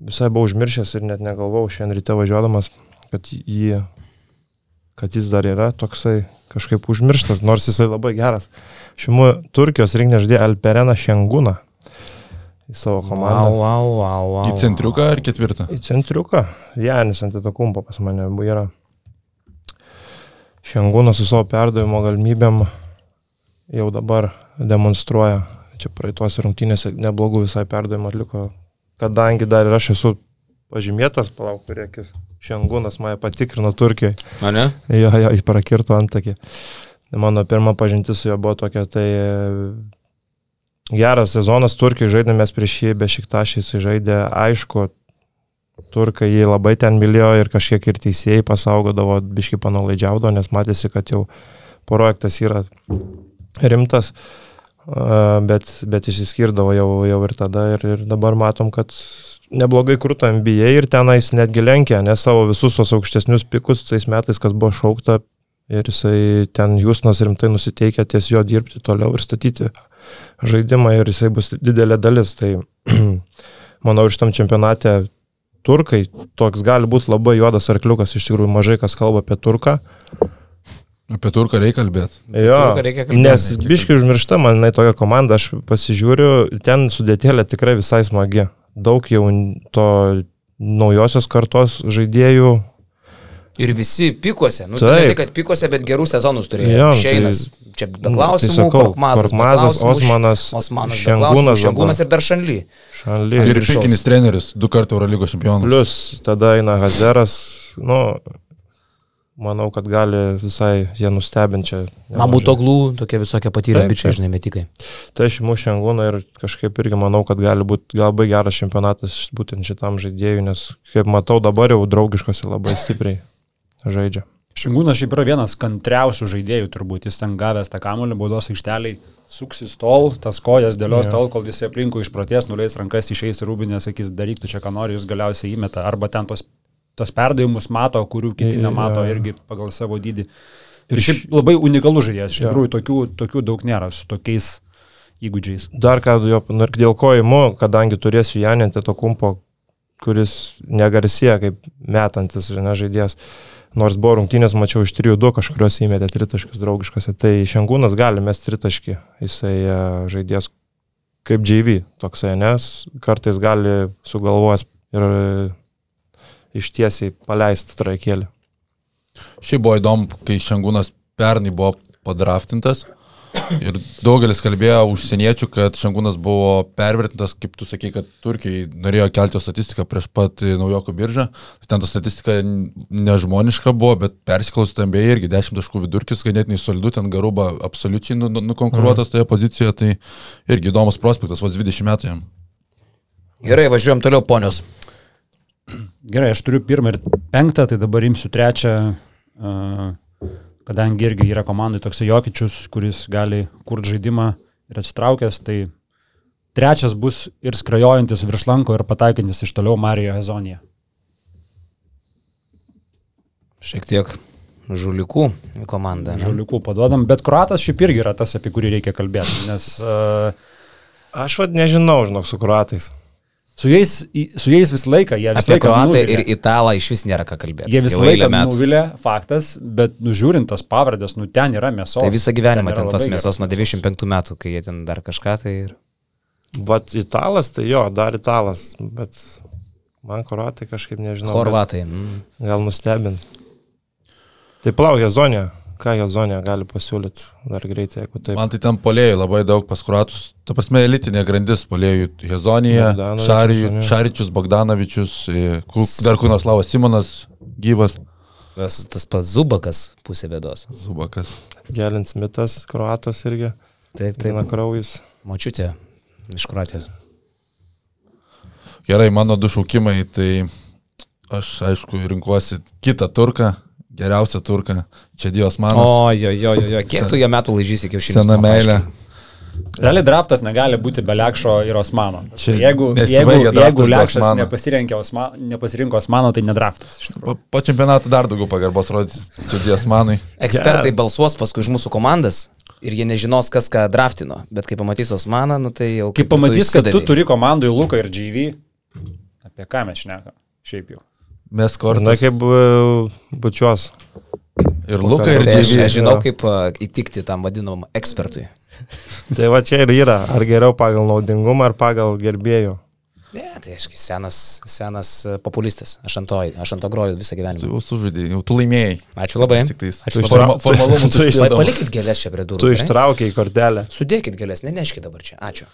A: visai buvau užmiršęs ir net negalvau šiandien ryte važiuodamas, kad, jį, kad jis dar yra toksai kažkaip užmirštas, nors jisai labai geras. Aš imu Turkijos rinkinį žaidėją Alpereną Šengūną į savo komandą.
B: Wow, wow, wow, wow.
C: Į centriuką ar ketvirtą?
A: Į centriuką. Janis ant to kumpo pas mane yra. Šiangūnas su savo perdavimo galimybėm jau dabar demonstruoja. Čia praeitos rungtynėse neblogų visai perdavimų atliko. Kadangi dar ir aš esu pažymėtas, palauk, priekis. Šiangūnas mane patikrino Turkijoje.
B: Mane?
A: Jo, jo, jis prakirto antakį. Mano pirma pažintis su juo buvo tokia, tai e, geras sezonas Turkiai žaidė, mes prieš jį be šiktašys žaidė, aišku, Turkai jį labai ten mylėjo ir kažkiek ir teisėjai pasaugodavo, biški panolaidžiaudo, nes matėsi, kad jau projektas yra rimtas, A, bet, bet išsiskirdavo jau, jau ir tada ir, ir dabar matom, kad neblogai krūto NBA ir tenais netgi lenkia, nes savo visus tos aukštesnius pikus tais metais, kas buvo šaukta ir jisai ten Jūsnas rimtai nusiteikia ties jo dirbti toliau ir statyti žaidimą ir jisai bus didelė dalis. Tai (clears throat) manau, ir šitam čempionate turkai toks gali būti labai juodas arkliukas, iš tikrųjų mažai kas kalba apie turką.
C: Apie turką reikia kalbėti.
A: Jo,
B: turką reikia kalbėt.
A: nes biškai užmiršta, man jinai tokia komanda, aš pasižiūriu, ten sudėtėlė tikrai visai smagi. Daug jau to naujosios kartos žaidėjų.
B: Ir visi pikuose. Nu,
A: Taip.
B: ne tai, kad pikuose, bet gerų sezonus turėjo.
A: Jo, tai-
B: Šeinas, čia be klausimų,
A: sakau,
B: Korkmazas, be
A: Korkmazas,
B: klausimų,
A: Osmanas,
B: Osmanas, be
A: Šengūnas
B: klausimų,
A: dabar.
B: Šengūnas ir dar Šanly.
A: Šalia.
C: Ir
B: viršaus.
C: pikinis treneris, du kartų Eurolygo čempionas.
A: Plius tada eina Hazeras, nu, manau, kad gali visai jie nustebinčia.
B: Mamų toglų, tokie visokie patyrę
A: Taip,
B: bičiai,
A: taip.
B: žinai, metikai.
A: Tai aš imu šiangūną ir kažkaip irgi manau, kad gali būti labai geras čempionatas šit- būtent šitam žaidėjui, nes kaip matau dabar jau draugiškosi labai stipriai žaidžia.
D: Šingūnas šiaip yra vienas kantriausių žaidėjų turbūt, jis ten gavęs tą kamolį, baudos aikšteliai, suksis tol, tas kojas dėlios tol, kol visi aplinkui išproties, nuleis rankas, išeis į rūbinę, sakys, daryk tu čia ką nori, jis galiausiai įmeta, arba ten tos, tos perdavimus mato, kurių kiti
A: Jo.
D: nemato irgi pagal savo dydį. Ir šiaip labai unikalus žaidėjas, iš tikrųjų tokių, tokių daug nėra su tokiais įgūdžiais.
A: Dar ką jo, nu, ir dėl ko įmu, kadangi turėsiu Janintę to kumpo, kuris negarsėja kaip metantis ir nežaidėjas. Nors buvo rungtynės, mačiau iš 3-2 kažkurios įmetė tritaškius draugiškose. Tai šiangūnas gali mes tritaškį. Jisai e, žaidėjas kaip JV toksai, nes kartais gali sugalvojęs ir e, ištiesiai paleisti traikėlį.
C: Šiaip buvo įdomu, kai Šengūnas pernai buvo padraftintas. Ir daugelis kalbėjo užsieniečių, kad Šengūnas buvo pervertintas, kaip tu sakai, kad Turkijai norėjo kelti jo statistiką prieš pat e, naujokų biržą. Ten ta statistika n- nežmoniška buvo, bet persiklausė tambėjai irgi 10 taškų vidurkis, ganėtinai solidu, ten garuba absoliučiai nu- nu- nukonkuruotas toje pozicijoje, tai irgi įdomus prospektas, vos 20 metų jam.
B: Gerai, važiuojam toliau, ponios.
D: Gerai, aš turiu pirmą ir penktą, tai dabar imsiu trečią, a, kadangi irgi yra komandai toksai Jokičius, kuris gali kurti žaidimą ir atsitraukęs, tai trečias bus ir skrajojantis virš lanko ir pataikantis iš toliau Marijo Hezonija.
B: Šiek tiek žulikų į komandą. ne?
D: Žuliukų paduodam, bet kruatas šiaip irgi yra tas, apie kurį reikia kalbėti, nes a,
A: Aš vad nežinau, žinok, su kruatais.
D: su jais, į- su jais visą laiką jie visą
B: Apie
D: laiką
B: kroatą
D: nuvilia.
B: ir italą iš vis nėra ką kalbėti.
D: Jie visą
B: Jau eilę
D: laiką nuvilė, faktas, bet nužiūrintas pavardės, nu ten yra mėsos.
B: Tai visą gyvenimą
D: yra
B: ten tos
D: labai
B: mėsos nuo
D: geros
B: 95 metų, kai jie ten dar kažką tai ir...
A: Vat italas, tai jo, dar italas, bet man kruatai kažkaip nežinau. bet
B: Horvatai. Mm.
A: Gal nustebint. Tai plaukia zonė. Ką jie zonė gali pasiūlyti dar greitai, jeigu taip.
C: Man tai ten polėjai labai daug paskuratus. Ta prasme, elitinė grandis polėjų Hezonija,
A: Bogdanovičius, ane?
C: Šaričius, Bogdanovičius, e, Ku- dar Kūnas Lavas Simonas, gyvas
B: Tas, tas pats Zubakas pusė bėdos.
C: Zubakas.
A: Gelins mitas, kruatas irgi.
B: Taip,
A: Tai
B: taip.
A: na kraujus.
B: Močiutė iš Kroatijos.
C: Gerai, mano du šaukimai, tai aš aišku rinkuosi kitą turką, geriausią turką, čia Dievas manas,
B: O, jo, jo, jo, jo. Kiek tu jo metų lažysi iki šiandien?
C: sena meilė.
D: Realiai draftas negali būti be Lekšo ir Osmano.
C: Čia
D: jeigu jeigu,
C: nesibaigia draftas
D: jeigu
C: be
D: Lekšas
C: Osmano.
D: nepasirinko Osmano, nepasirinko Osmano, tai nedraftas. iš tikrųjų.
C: Po, po čempionato dar daugiau pagarbos rodys čia Dievas manai.
B: Ekspertai
A: Geras.
B: balsuos paskui už mūsų komandas ir jie nežinos, kas ką draftino. Bet kai pamatys Osmaną, nu tai jau...
D: Kai
B: kaip ir
D: pamatys, kad tu
B: išsidavei.
D: turi komandai Luką ir GV, apie ką mes šnekam, šiaip jau.
C: Mes
A: Na
C: kortas.
A: kaip bu- bučiuos.
C: Ir Luka, ir
B: Tai aš,
C: Dževi.
B: aš žinau, kaip a, įtikti tam vadinamam ekspertui.
A: Tai va čia ir yra. Ar geriau pagal naudingumą, ar pagal gerbėjų.
B: Ne, tai aiškiai, senas, senas a, populistas. Aš ant to, aš ant to groju visą
C: Tu
B: gyvenimą.
C: jau sužaidai, jau tu laimėjai.
B: Ačiū labai.
C: Tik tais.
B: Ačiū
A: Tu
B: labai.
A: ištra-
C: Forma- Formalumų
A: (laughs) tu
C: tu
B: Lai,
C: išlaidai.
B: palikit gėlės čia prie durų.
A: Tu
B: gerai?
A: ištraukiai kortelę.
B: Sudėkit gėlės, neneškit dabar čia. Ačiū.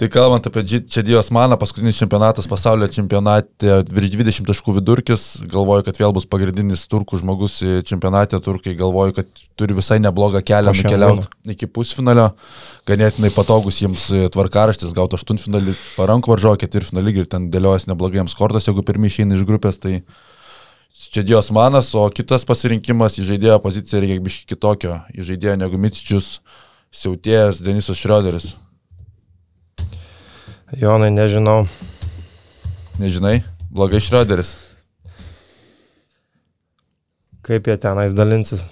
C: Tai kalbant apie Dži- čia Dievas maną, paskutinis čempionatas pasaulio čempionate virš 20 taškų vidurkis, galvoju, kad vėl bus pagrindinis turkų žmogus į čempionate, turkai galvoju, kad turi visai neblogą
A: Po
C: kelią
A: šiandien.
C: nukeliauti iki pusfinalio, ganėtinai patogus jiems e, tvarkaraštis, gauti aštuntfinalį parankvaržo, ketvirtfinalį ir ten dėliojas neblogai jiems kortas, jeigu pirmie išeina iš grupės, tai čia Dievas manas, o kitas pasirinkimas į žaidėjo poziciją reikia biški kitokio, į žaidėjo negu Mitsičius, Siautėjas, Denisas Šrioderis.
A: Jonai, nežinau.
C: Nežinai, blogai Šrioderis.
A: kaip jie tenais dalinsis.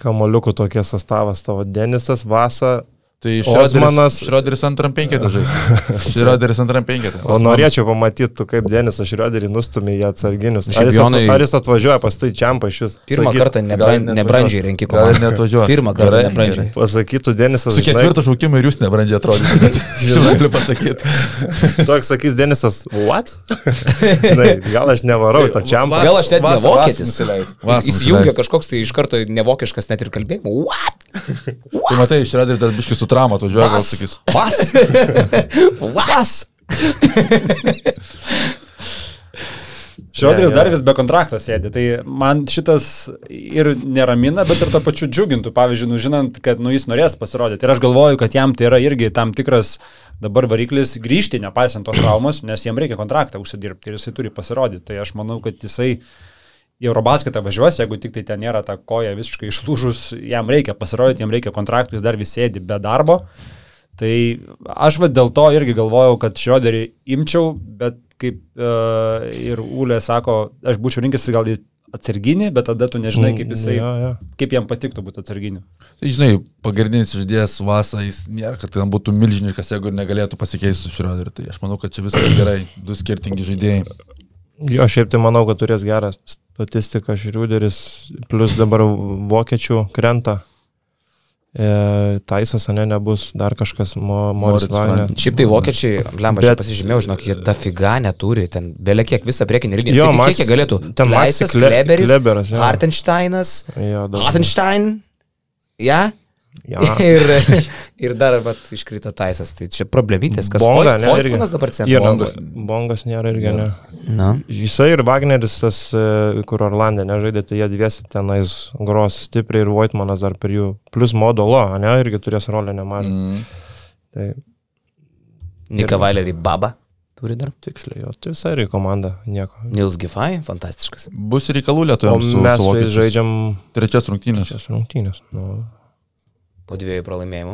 A: Kamoliukų tokie sastavas tavo Denisas, Vasa.
C: Tai Šrioderis,
A: Osmanas-
C: Šrioderis antram penketą žais. (laughs) Šrioderis antram penketą.
A: O norėčiau pamatyti, tu kaip Denisas Šrioderį nustumė į atsarginius. Ar jis,
B: Šiaip
A: atva,
B: Jonai-
A: ar jis atvažiuoja pas tai čiampą iš jūs?
B: Pirmą
A: Sakyt-
B: kartą
C: gal
B: nebran,
C: ir
B: nebrandžiai
C: neatvažiuos.
B: renki
C: Gal ir
B: komandą.
C: neatvažiuos.
B: Pirmą kartą
C: Gerai,
B: nebrandžiai.
A: Pasakytų Denisas.
C: Su ketvirtu šaukimu ir jūs nebrandžiai atrodote. (laughs) bet Žinau, galiu pasakyti.
A: žinai, (laughs) Toks sakys Denisas,
B: (laughs)
A: what? Na, gal aš nevarau į tą čiampą.
B: Gal aš net ne
C: Vas- vas
B: vokietis.
C: nusileis. Vas
B: Įsijungia
C: nusileis.
B: kažkoks tai iš karto nevokiškas net ir kalbėjimas. What?
C: Tai matai, Šrioderis dar biškai su trauma atvažiuoja, gal sakys.
B: Vas?
A: (laughs)
B: Vas?
A: Ne, ne.
D: Šiodris dar vis be kontrakto sėdi, tai man šitas ir neramina, bet ir to pačiu džiugintų, pavyzdžiui, nu, žinant, kad nu, jis norės pasirodyti. Ir aš galvoju, kad jam tai yra irgi tam tikras dabar variklis grįžti, nepaisant tos traumos, nes jam reikia kontraktą užsidirbti ir jisai turi pasirodyti. Tai aš manau, kad jisai į Eurobasketą važiuos, jeigu tik tai ten nėra ta koja visiškai išlūžus, jam reikia pasirodyti, jam reikia kontraktų, jis dar vis sėdi be darbo. Tai aš vad dėl to irgi galvojau, kad šioderį imčiau, bet kaip uh, ir Ūlė sako, aš būčiau rinkęs gal į atsarginį, bet tada tu nežinai, kaip jisai,
A: Mm, Jo, jo.
D: kaip jam patiktų būti atsarginiu.
C: Tai Žinai, pagrindinis žaidėjas Vasa, jis nėra, kad ten būtų milžiniškas, jeigu ir negalėtų pasikeisti su Šrioderiu. Tai aš manau, kad čia viskas gerai. Du skirtingi žaidėjai.
A: Jo, šiaip tai manau, kad turės gerą statistiką Šriuderis, plus dabar vokiečių krenta. E, Taisas, ne, nebus dar kažkas, Mo, Moris
C: Moritz
A: Wagner.
C: Wagner.
B: Šiaip tai vokiečiai, blemba, aš
A: Bet-
B: čia pasižymėjau, žinok, jie ta figa neturi, ten belie kiek visą priekinį lygį.
A: Jo,
B: Jo, man.
A: Max-
B: Kiek jie galėtų?
A: ten Maxi
B: Leisas,
A: Kle-
B: Kleberis,
A: Kleberis, jo.
B: Hartensteinas,
A: Jo, daug.
B: Hartenstein, ja? (laughs)
A: Ja.
B: ir, ir dar vat, iškrito Taisas, tai čia problemytės, kas
A: Bonga,
B: Voigt-
A: ne, irgi.
B: Voigtmanas dabar
A: Ir
B: centras.
A: bongas, bongas nėra irgi, ne.
B: Na,
A: Jisai ir Wagneris, tas, e, kur Orlandė nežaidė, tai jie dviesi tenais gros stipriai ir Voitmanas dar per jų. Plus modolo, ne, irgi turės rolę nemažą. Mm. Tai
B: Nika Valerį Baba. Turi dar.
A: Tiksliai, jo, tai visai yra komanda, nieko.
B: Nils Gifai, fantastiškas.
C: Bus reikalų
A: O
C: lietuviams su,
A: mes
C: su
A: su jais
C: vokiečiais.
A: žaidžiam
C: Trečias rungtynės.
A: šias rungtynės. Nu,
B: Po dviejų pralaimėjimų.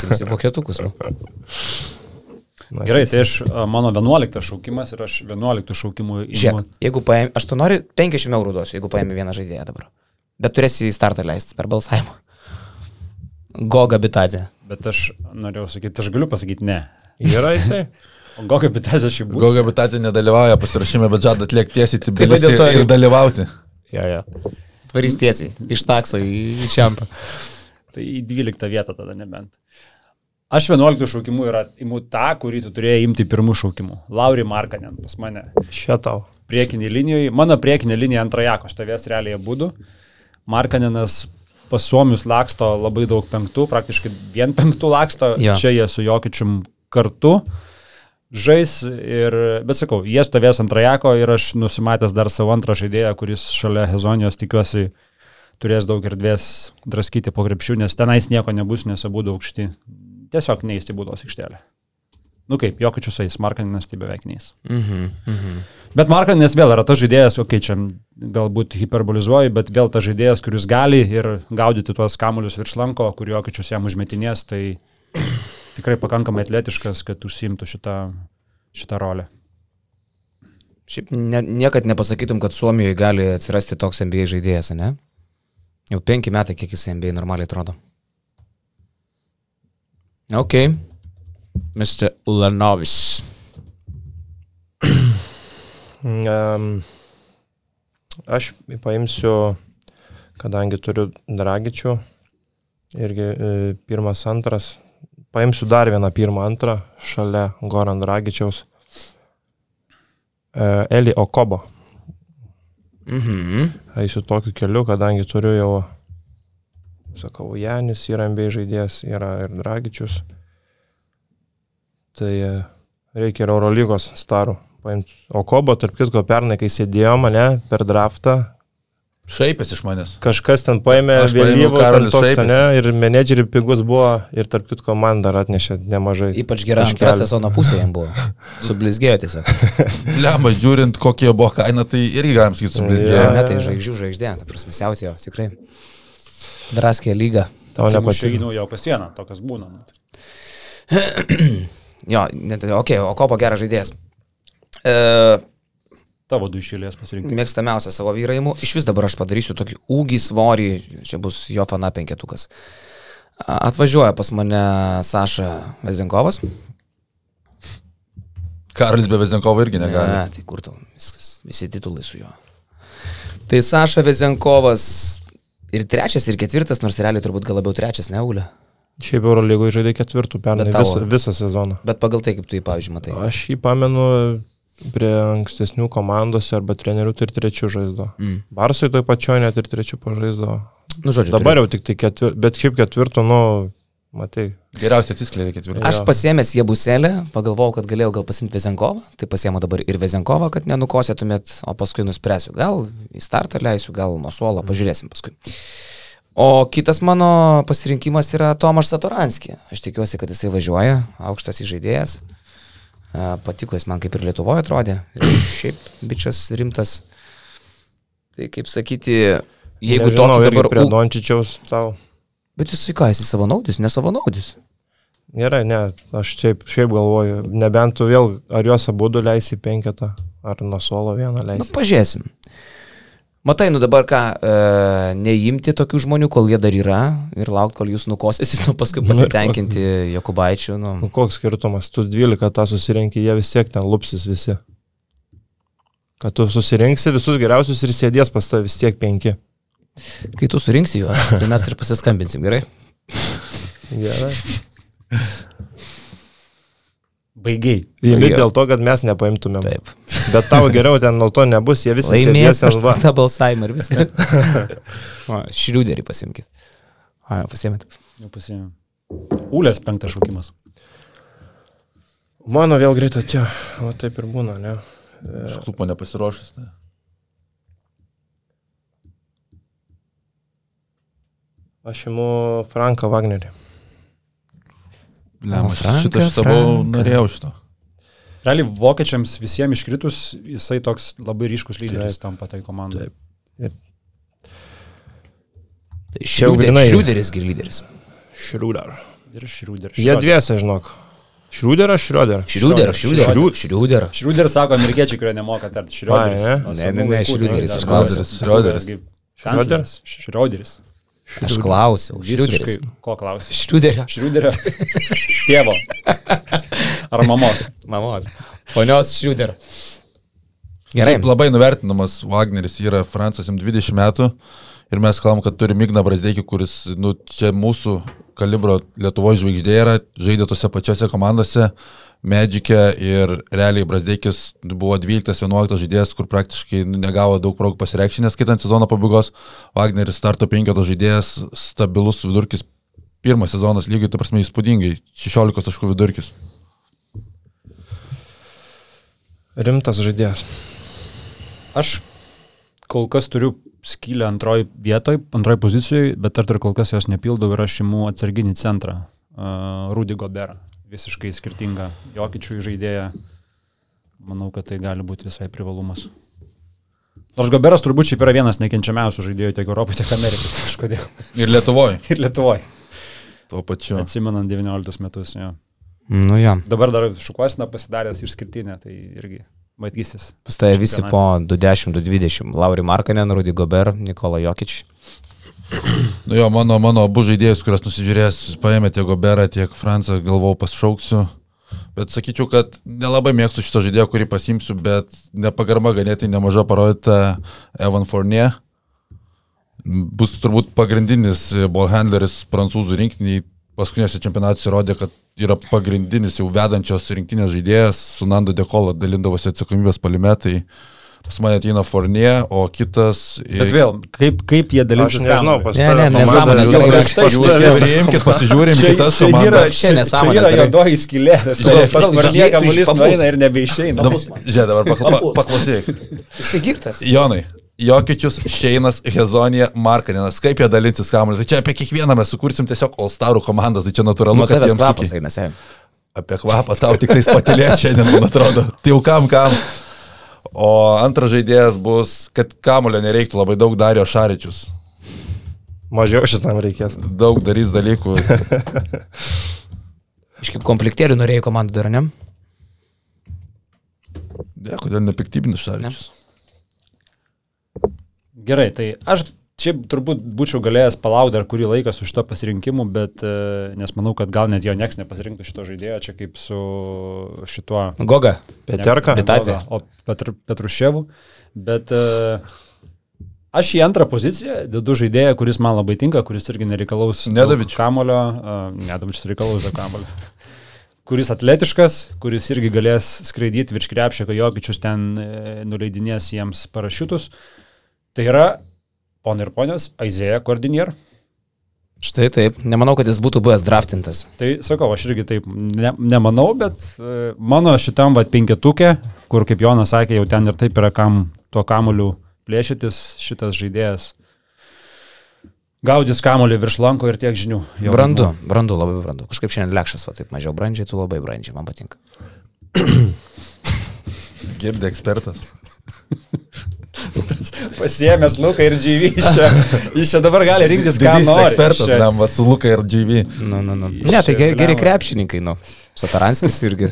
B: Simsim vokietukus. Nu.
A: na,
D: Gerai, tai aš, a, mano 11 šaukimas ir aš 11 šaukimų
B: Žiūrėk,
D: įimu.
B: jeigu paėmė, aš tu nori 50 eurų duosiu, jeigu paėmė vieną žaidėją dabar. Bet turėsi į startą leisti per balsavimą. Goga Bitadė.
D: Bet aš norėjau sakyti, aš galiu pasakyti ne.
A: Yra
C: (laughs)
A: jisai.
D: O kokią bitęs aš jį būsiu?
C: Gauga Bitadė nedalyvauja pasirašyme, bet žada atliekti tiesiai į
B: va
C: Tbilisi
B: dėl to
C: ir, ir
B: ir-
C: dalyvauti.
B: Jo, jo. Tvarys tiesiai. Iš takso į čiampą.
D: Tai į 12 vietą tada nebent. Aš 11 šaukimų yra, imu tą, kurį tu turėjai imti pirmų šaukimų. Lauri Markanen pas mane.
A: Šia tau.
D: Priekinį linijoje, mano priekinė linija antrajako, aš tavęs realiai būdu. Markanenas pas suomius laksto labai daug penktų, praktiškai vien penktų laksto.
B: Jo.
D: Čia jie su Jokičium kartu žais ir, bet sakau, jie stovės antrajako ir aš nusimatęs dar savo antrą žaidėją, kuris šalia Hezonijos tikiuosi turės daug erdvės draskyti po krepšių, nes tenais nieko nebus, nes abu daug aukšti. Tiesiog neįsti būdos aikštelė. Nu kaip, Jokičius eis, Markaninas tai beveik neįs.
B: Mhm. mhm.
D: Bet Markanis vėl yra tas žaidėjas, okei, okay, čia galbūt hiperbolizuoju, bet vėl tas žaidėjas, kuris gali ir gaudyti tuos kamuolius virš lanko, kurio kičius jam užmetinės, tai tikrai pakankamai atletiškas, kad užsimtų šitą, šitą rolę.
B: Šiaip ne, niekad nepasakytum, kad Suomijoje gali atsirasti toks NBA žaidėjas, ne? Jau penki metai, kiek jis NBA normaliai atrodo. Ok. Mr. Lanovis.
A: Um, aš paimsiu, kadangi turiu dragičių, irgi e, pirmas, antras, paimsiu dar vieną pirmą, antrą šalia Goran Dragičiaus. E, Eli Okobo.
B: Mhm.
A: Eisiu tokiu keliu, kadangi turiu jau, sakau, Janis yra MB žaidėjas, yra ir Dragičius. Tai e, reikia ir Eurolygos starų. paimt. O Kobo, tarp kitko, pernai, kai sėdėjo mane per draftą,
C: Šaipės iš manęs.
A: kažkas ten paėmė
C: Aš paėmiau
A: vėlyvą
C: Karolį
A: toks,
C: Šaipės.
A: ne, ir menedžerių pigus buvo, ir tarp kitko man dar atnešė nemažai.
B: Ypač gera
A: taškelių.
B: antra sezono pusė jam buvo. Sublizgėjo tiesiog.
C: Lemba, žiūrint, kokie buvo kaina, tai irgi galim sakyti
A: Jo.
C: sublizgėjo.
B: Ne, tai žvaigždžių žvaigždė, ta prasme, siautėjo, tikrai. Draskė lyga.
A: Tau
D: Aš
A: nepatiko.
D: žinau jo kasieną, tokias būna.
B: Jo, ne, tai, ok, o kopo geras žaidėjas. E,
D: Tavo du išėlės pasirinkti.
B: mėgstamiausia savo vyraimų. Iš vis dabar aš padarysiu tokį ūgį, svorį, čia bus jo fana penketukas. A, Atvažiuoja pas mane Saša Vezinkovas.
C: Karolis be Vezinkovo irgi negali.
B: Ne, tai kur tu, viskas, visi titulai su juo. Tai Saša Vezinkovas ir trečias, ir ketvirtas, nors realiai turbūt gal labiau trečias, ne Ulė.
A: Šiaip Eurolygoje žaidė ketvirtų pernai
B: Bet tau-
A: visą, visą sezoną.
B: Bet pagal tai, kaip tu jį, pavyzdžiui, matai.
A: Aš jį pamenu prie ankstesnių komandos arba trenerių tai ir trečių žaizdo.
B: Mm.
A: Barsui toj pačioj net ir trečių pažaizdo.
B: Nu, žodžiu,
A: Dabar jau tik tai ketvirtų, bet šiaip ketvirtų, nu, matai.
C: Geriausiai atsiskleidė ketvirtą.
B: Aš pasiemęs Jebuselę, pagalvojau, kad galėjau gal pasimti Vezenkovą, tai pasiemu dabar ir Vezenkovą, kad nenukosėtumėt, o paskui nuspręsiu, gal į startą leisiu, gal nuo suolo, pažiūrėsim paskui. O kitas mano pasirinkimas yra Tomas Satoranski. Aš tikiuosi, kad jisai važiuoja, aukštas įžaidėjas. A, Patiko jis man kaip ir Lietuvoje atrodė. Ir šiaip bičias rimtas. Tai kaip sakyti, jeigu
A: Nežinau,
B: tokį
A: irgi
B: dabar...
A: Prie
B: u-
A: Dončičiaus tau.
B: Bet jisai ką, jisai savanaudis, nesavanaudis.
A: Gerai, ne, aš šiaip, šiaip galvoju, nebent tu vėl, ar juos abu du leisi į penketą, ar nuo solo vieną
B: Nu,
A: leisi.
B: pažiūrėsim. Matai, nu dabar ką, e, neimti tokių žmonių, kol jie dar yra ir laukti, kol jūs nukosėsit, (laughs) nu paskui pasitenkinti Jokubaičiu. Nu.
A: Nu, koks skirtumas, tu 12 tą susirinkai, jie vis tiek ten lupsis visi. Kad tu susirinksi visus geriausius ir sėdės pas tavęs vis tiek penki.
B: Kai tu surinksi juos, tai mes ir pasiskambinsim,
A: (laughs)
B: gerai?
A: Gerai.
D: Baigiai.
A: Įmi
B: Jo.
A: dėl to, kad mes nepaimtumėm.
B: Taip.
A: Bet tau geriau ten nuo to nebus, jie visi
B: Laimės
A: sėdės
B: aš
A: ten va.
B: tą balsavimą ir viską.
A: (laughs)
B: O, Šriuderį pasimkit. O, pasiemėt.
D: Jau pasiėmė. Ulės penktas šaukimas.
A: Mano vėl greitai atėjo, o taip ir būna, ne?
C: Aš klupo nepasiruošęs. Ne.
A: Aš imu Franką Wagnerį.
C: Lemba,
B: Franką,
C: šitą šitą buvau,
B: Franką.
C: norėjau šito.
D: Realiai vokiečiams visiems iškritus jisai toks labai ryškus lyderis tampa tai komandai.
A: Taip. Čia jau grinai.
B: Šriuderis ir lyderis.
A: Šriuder.
D: Ir Šriuderis.
A: Jie dviese, žinok. Šriuder ar šriuder?
B: Šriuderis, šriuderis. Šriuderis.
D: Šriuderis sako amerikiečiai, kurie nemoka tarti. Šriuderis.
A: Ai, ne?
D: Nuo
B: Ne,
D: senų
B: ne, ne,
D: laikų,
B: Šriuderis,
D: dar
B: aš
C: klausiu.
D: Šriuderis.
C: Šriuderis.
D: kaip kancleris. Šriuderis.
B: Aš klausiau.
D: Visiškai.
B: Šriuderis.
D: Ko klausi?
B: Šriuderio.
D: Šriuderio (laughs) tėvo. Ar mamos.
B: Mamos. Ponios Šriuderio. Gerai.
C: Taip, labai nuvertinamas Wagneris yra Francas, jam 20 metų ir mes kalbam, kad turi Migną Brasdeikį, kuris nu, čia mūsų kalibro Lietuvo žvaigždė yra, žaidė tose pačiose komandose, Medžikė ir realiai Brasdeikis buvo 12-11 žaidėjas, kur praktiškai nu, negavo daug progų pasireikšti, neskaitant sezono pabaigos, Wagneris starto penkito žaidėjas, stabilus vidurkis, pirmas sezonas lygiai, tu prasme, įspūdingai, 16 taškų vidurkis.
A: Rimtas žaidėjas.
D: Aš kol kas turiu skylę antroji vietoj, antroji pozicijoje, bet dar dar kol kas jos nepildau ir aš imu atsarginį centrą. Uh, Rudy Goberą. Visiškai skirtingą Jokičių žaidėją. Manau, kad tai gali būti visai privalumas. Nors Goberas turbūt šiaip yra vienas nekenčiamiausių žaidėjų tiek Europoje, tiek Amerikoje. (laughs) Kažkodėl.
C: Ir Lietuvoje,
D: Ir Lietuvoje.
C: tuo pačiu.
D: Atsimenant 19 metus. Jo.
B: Nu jo.
D: Dabar dar šukuosina pasidaręs išskirtinę, tai irgi matysis.
B: Pas tai visi po 210-220. Lauri Markanen, Rudy Gober, Nikola Jokič.
C: Nu jo, mano, mano abu žaidėjus, kurias nusižiūrės, paėmė tiek Goberą, tiek Francą, galvau pašauksiu. Bet sakyčiau, kad nelabai mėgstu šito žaidėjo, kurį pasimsiu, bet nepagarba ganėtai nemaža parodyta Evan Fournier. Bus turbūt pagrindinis ball handleris prancūzų rinktiniai. Paskutinėse čempionatuose rodė, kad yra pagrindinis jau vedančios rinktinės žaidėjas. Su Nando Dekola dalindavosi atsakomybės palimetai. Pas mane ateina Fournier, o kitas...
D: Bet vėl, kaip, kaip jie
A: Aš
D: dalinsis?
A: nežinau,
D: kamuoliu?
A: pas
B: Ne, ne,
A: tave komanda.
B: nesąmonės,
A: jau
B: jau
A: prieš
B: prieš
A: tai
D: tai
A: šnekės.
C: Paimkit, pasižiūrim
D: Čia-
C: kitas
D: čia
C: komandas.
D: yra,
B: Čia
D: čia, čia
B: nesąmonės
D: yra
B: darai.
D: jodoji skylė.
C: Žiūrėk,
D: Pasvarnė
B: iš-
D: kamuolys
B: iš-
D: nueina ir nebeišeina.
C: Dab- Žiūrėk, dabar pakla- pa- paklausyk.
B: Įsigirtas.
C: Jonai, Jokičius, Šeinas, Hezonija, Markaninas, kaip jie dalinsis kamuoliu. Tai čia apie kiekvieną mes sukursim tiesiog Olstarų komandas, tai čia
B: Nu,
C: natūralu, kad
B: tavęs
C: jiems
B: kvapas
C: suki.
B: eina, sen.
C: Apie kvapą tau tik tais patilėti šiandien, man atrodo. Tai jau kam, kam. O antras žaidėjas bus, kad kamulio nereiktų labai daug Dario Šaričius.
A: Mažiau šitam reikės.
C: Daug darys dalykų.
B: Iš kaip konfliktierių norėjai komandų dar, ne?
C: Ne, kodėl nepiktybinis Šaričius?
D: Gerai, tai aš čia turbūt būčiau galėjęs palaukti dar kurį laiką su šito pasirinkimu, bet e, nes manau, kad gal net jo nieks nepasirinktų šito žaidėjo, čia kaip su šituo
B: Goga.
A: Peterka.
B: Bet- Vitacija.
D: O Petr, Petruševų. Bet e, aš į antrą poziciją dedu žaidėją, kuris man labai tinka, kuris irgi nereikalaus daug
C: Nedavičių.
D: Kamulio, e, nedavičius reikalaus daug kamulio. Kuris atletiškas, kuris irgi galės skraidyti virš krepšio, kai jokičius ten e, nuleidinės jiems parašiutus. Tai yra, ponai ir ponios, Aizėja Kordinier.
B: Štai taip. Nemanau, kad jis būtų buvęs draftintas.
D: Tai sakau, aš irgi taip ne, nemanau, bet e, mano šitam vat penketukė, kur kaip Jonas sakė, jau ten ir taip yra kam tuo kamuliu plėšytis, šitas žaidėjas gaudys kamuliu virš lanko ir tiek žinių. Jo,
B: Brandu, brandu, labai brandu. Kažkaip šiandien lekšas, va taip mažiau brandžiai, tu labai brandžiai, man patinka.
C: Girdė ekspertas.
D: Pasiemęs Luką ir Džyvį, jis čia dabar gali rinktis, ką
C: Didysis
D: nori.
C: ekspertas,
D: Jis čia-
C: tam, va, su Luka ir GV.
B: Nu, nu, nu. Ne, tai
D: Šiaip
B: geri, geri
D: blemba.
B: krepšininkai, nu. Sataranskis irgi.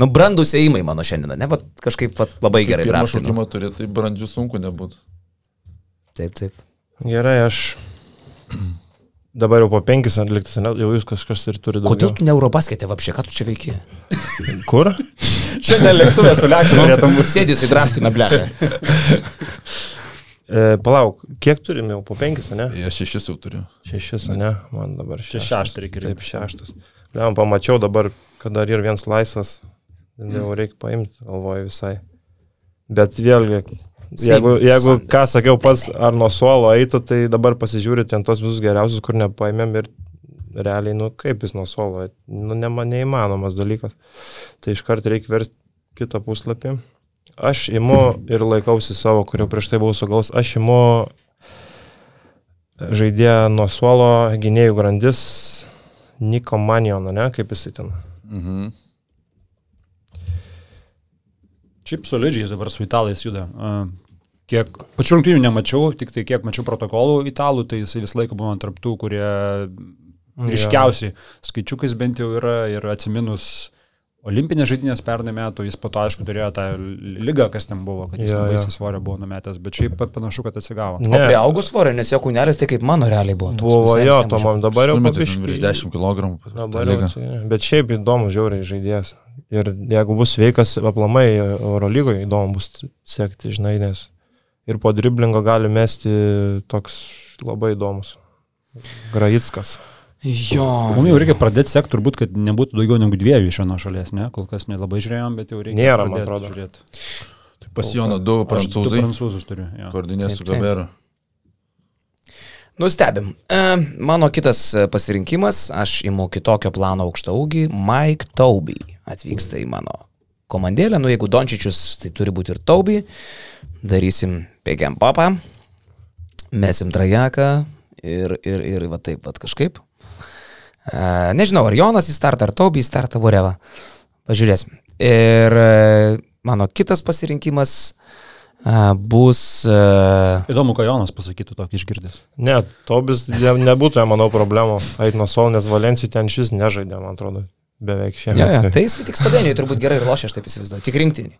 B: Nu, brandus įėjimai mano šiandien, ne, va kažkaip va, labai gerai
C: Pirmą
B: draftinu.
C: šaukimą turi, tai brandžių sunku nebūtų.
B: Taip, taip.
A: Gerai, aš dabar jau po penkis atliktas, ne, jau jūs kažkas ir turi
B: Kodėl
A: daugiau.
B: tu ne Eurobasketė, vapšė, ką tu čia veiki?
A: Kur?
D: Šiandien lėktuvė su lėkščiu
A: Nu.
D: norėtum būti.
B: Sėdės į draftiną blešą.
A: E, palauk, kiek turim jau po penkis, ne?
C: Jie Tai šešis jau turiu.
A: Šešis, ne? Man dabar
D: Čia
A: šešis.
D: šeštą reikia
A: Taip,
D: rinkti.
A: šeštas. Liam, pamačiau dabar, kad dar ir vienas laisvas. Jau reikia paimti, galvoju visai. Bet vėlgi, jeigu, jeigu
B: Sunday.
A: ką sakiau pats, ar nuo suolo eitų, tai dabar pasižiūrite ant tos visus geriausius, kur nepaėmėm ir realiai, nu kaip jis nuo suolo, eit? nu ne, neįmanomas dalykas. Tai iškart reikia versti kitą puslapį. Aš imu ir laikausi savo, kurio prieš tai buvau sugaus, aš imu žaidėją nuo suolo, gynėjų grandis Niko Maniono, ne, kaip jisai ten.
C: Mhm.
D: Šiaip solidžiai jis dabar su italais juda. A, Kiek pačių rungtynių nemačiau, tik tai kiek mačiau protokolų italų, tai jis visą laiką buvo antraptų, kurie
A: Nu,
D: ryškiausiai skaičiukais bent jau yra ir atsiminus olimpinės žaidynės pernai metų, jis po to aišku turėjo tą lygą, kas ten buvo, kad jis
A: Jo,
D: labai
A: jo.
D: įsisvorio buvo numetęs, bet šiaip panašu, kad atsigavo.
B: O prie augus svorio, nes jo kūnelis tai kaip mano realiai buvo. toks
A: Buvo
B: visai-
A: jo,
B: visai
A: to
B: mažas.
A: man dabar jau
C: Numetė ten virš
A: papiškai.
C: 10 kg.
A: Dabar jau atsiėmė. Bet šiaip įdomu, žiauriai žaidėjas. Ir jeigu bus sveikas, aplamai Eurolygoje įdomu bus sekti, žinai, nes ir po driblingo gali mesti toks labai įdomus. Graitskas.
B: Jo.
D: Mums jau reikia pradėti sekti, turbūt, kad nebūtų daugiau negu dviejų iš vienos šalies, ne? Kol kas nelabai žiūrėjom, bet jau reikia.
A: Nėra, man
D: pradėt
A: atrodo.
D: žiūrėt.
C: Pas Joną 2
D: Aš du
C: prancūzai.
D: prancūzus turiu. jo.
C: Koordinės su
B: Taip, taip.
C: Gaveru.
B: Nustebim. E, mano kitas e, pasirinkimas, aš įmu kitokio plano aukštą ūgį, Mike Tauby atvyksta į mano komandėlę, nu jeigu Dončičius, tai turi būti ir Tauby, darysim pėgiam papą, mesim trajeką ir, ir, ir va taip pat kažkaip. E, nežinau, ar Jonas į startą, ar Tauby į startą, whatever. Pažiūrėsim. Ir e, mano kitas pasirinkimas e, bus... E,
D: Įdomu, ką Jonas pasakytų tokį išgirdęs.
A: Ne, Tobis ne, nebūtų, jam, manau, problemų. Ait nuo sol, nes Valencijų ten šis nežaidė, man atrodo, beveik
B: Jo, jo,
A: šiandien.
B: tai jis tik Slovenijoje turbūt gerai ir lošia, aš taip įsivaizduoju, tik rinktinį.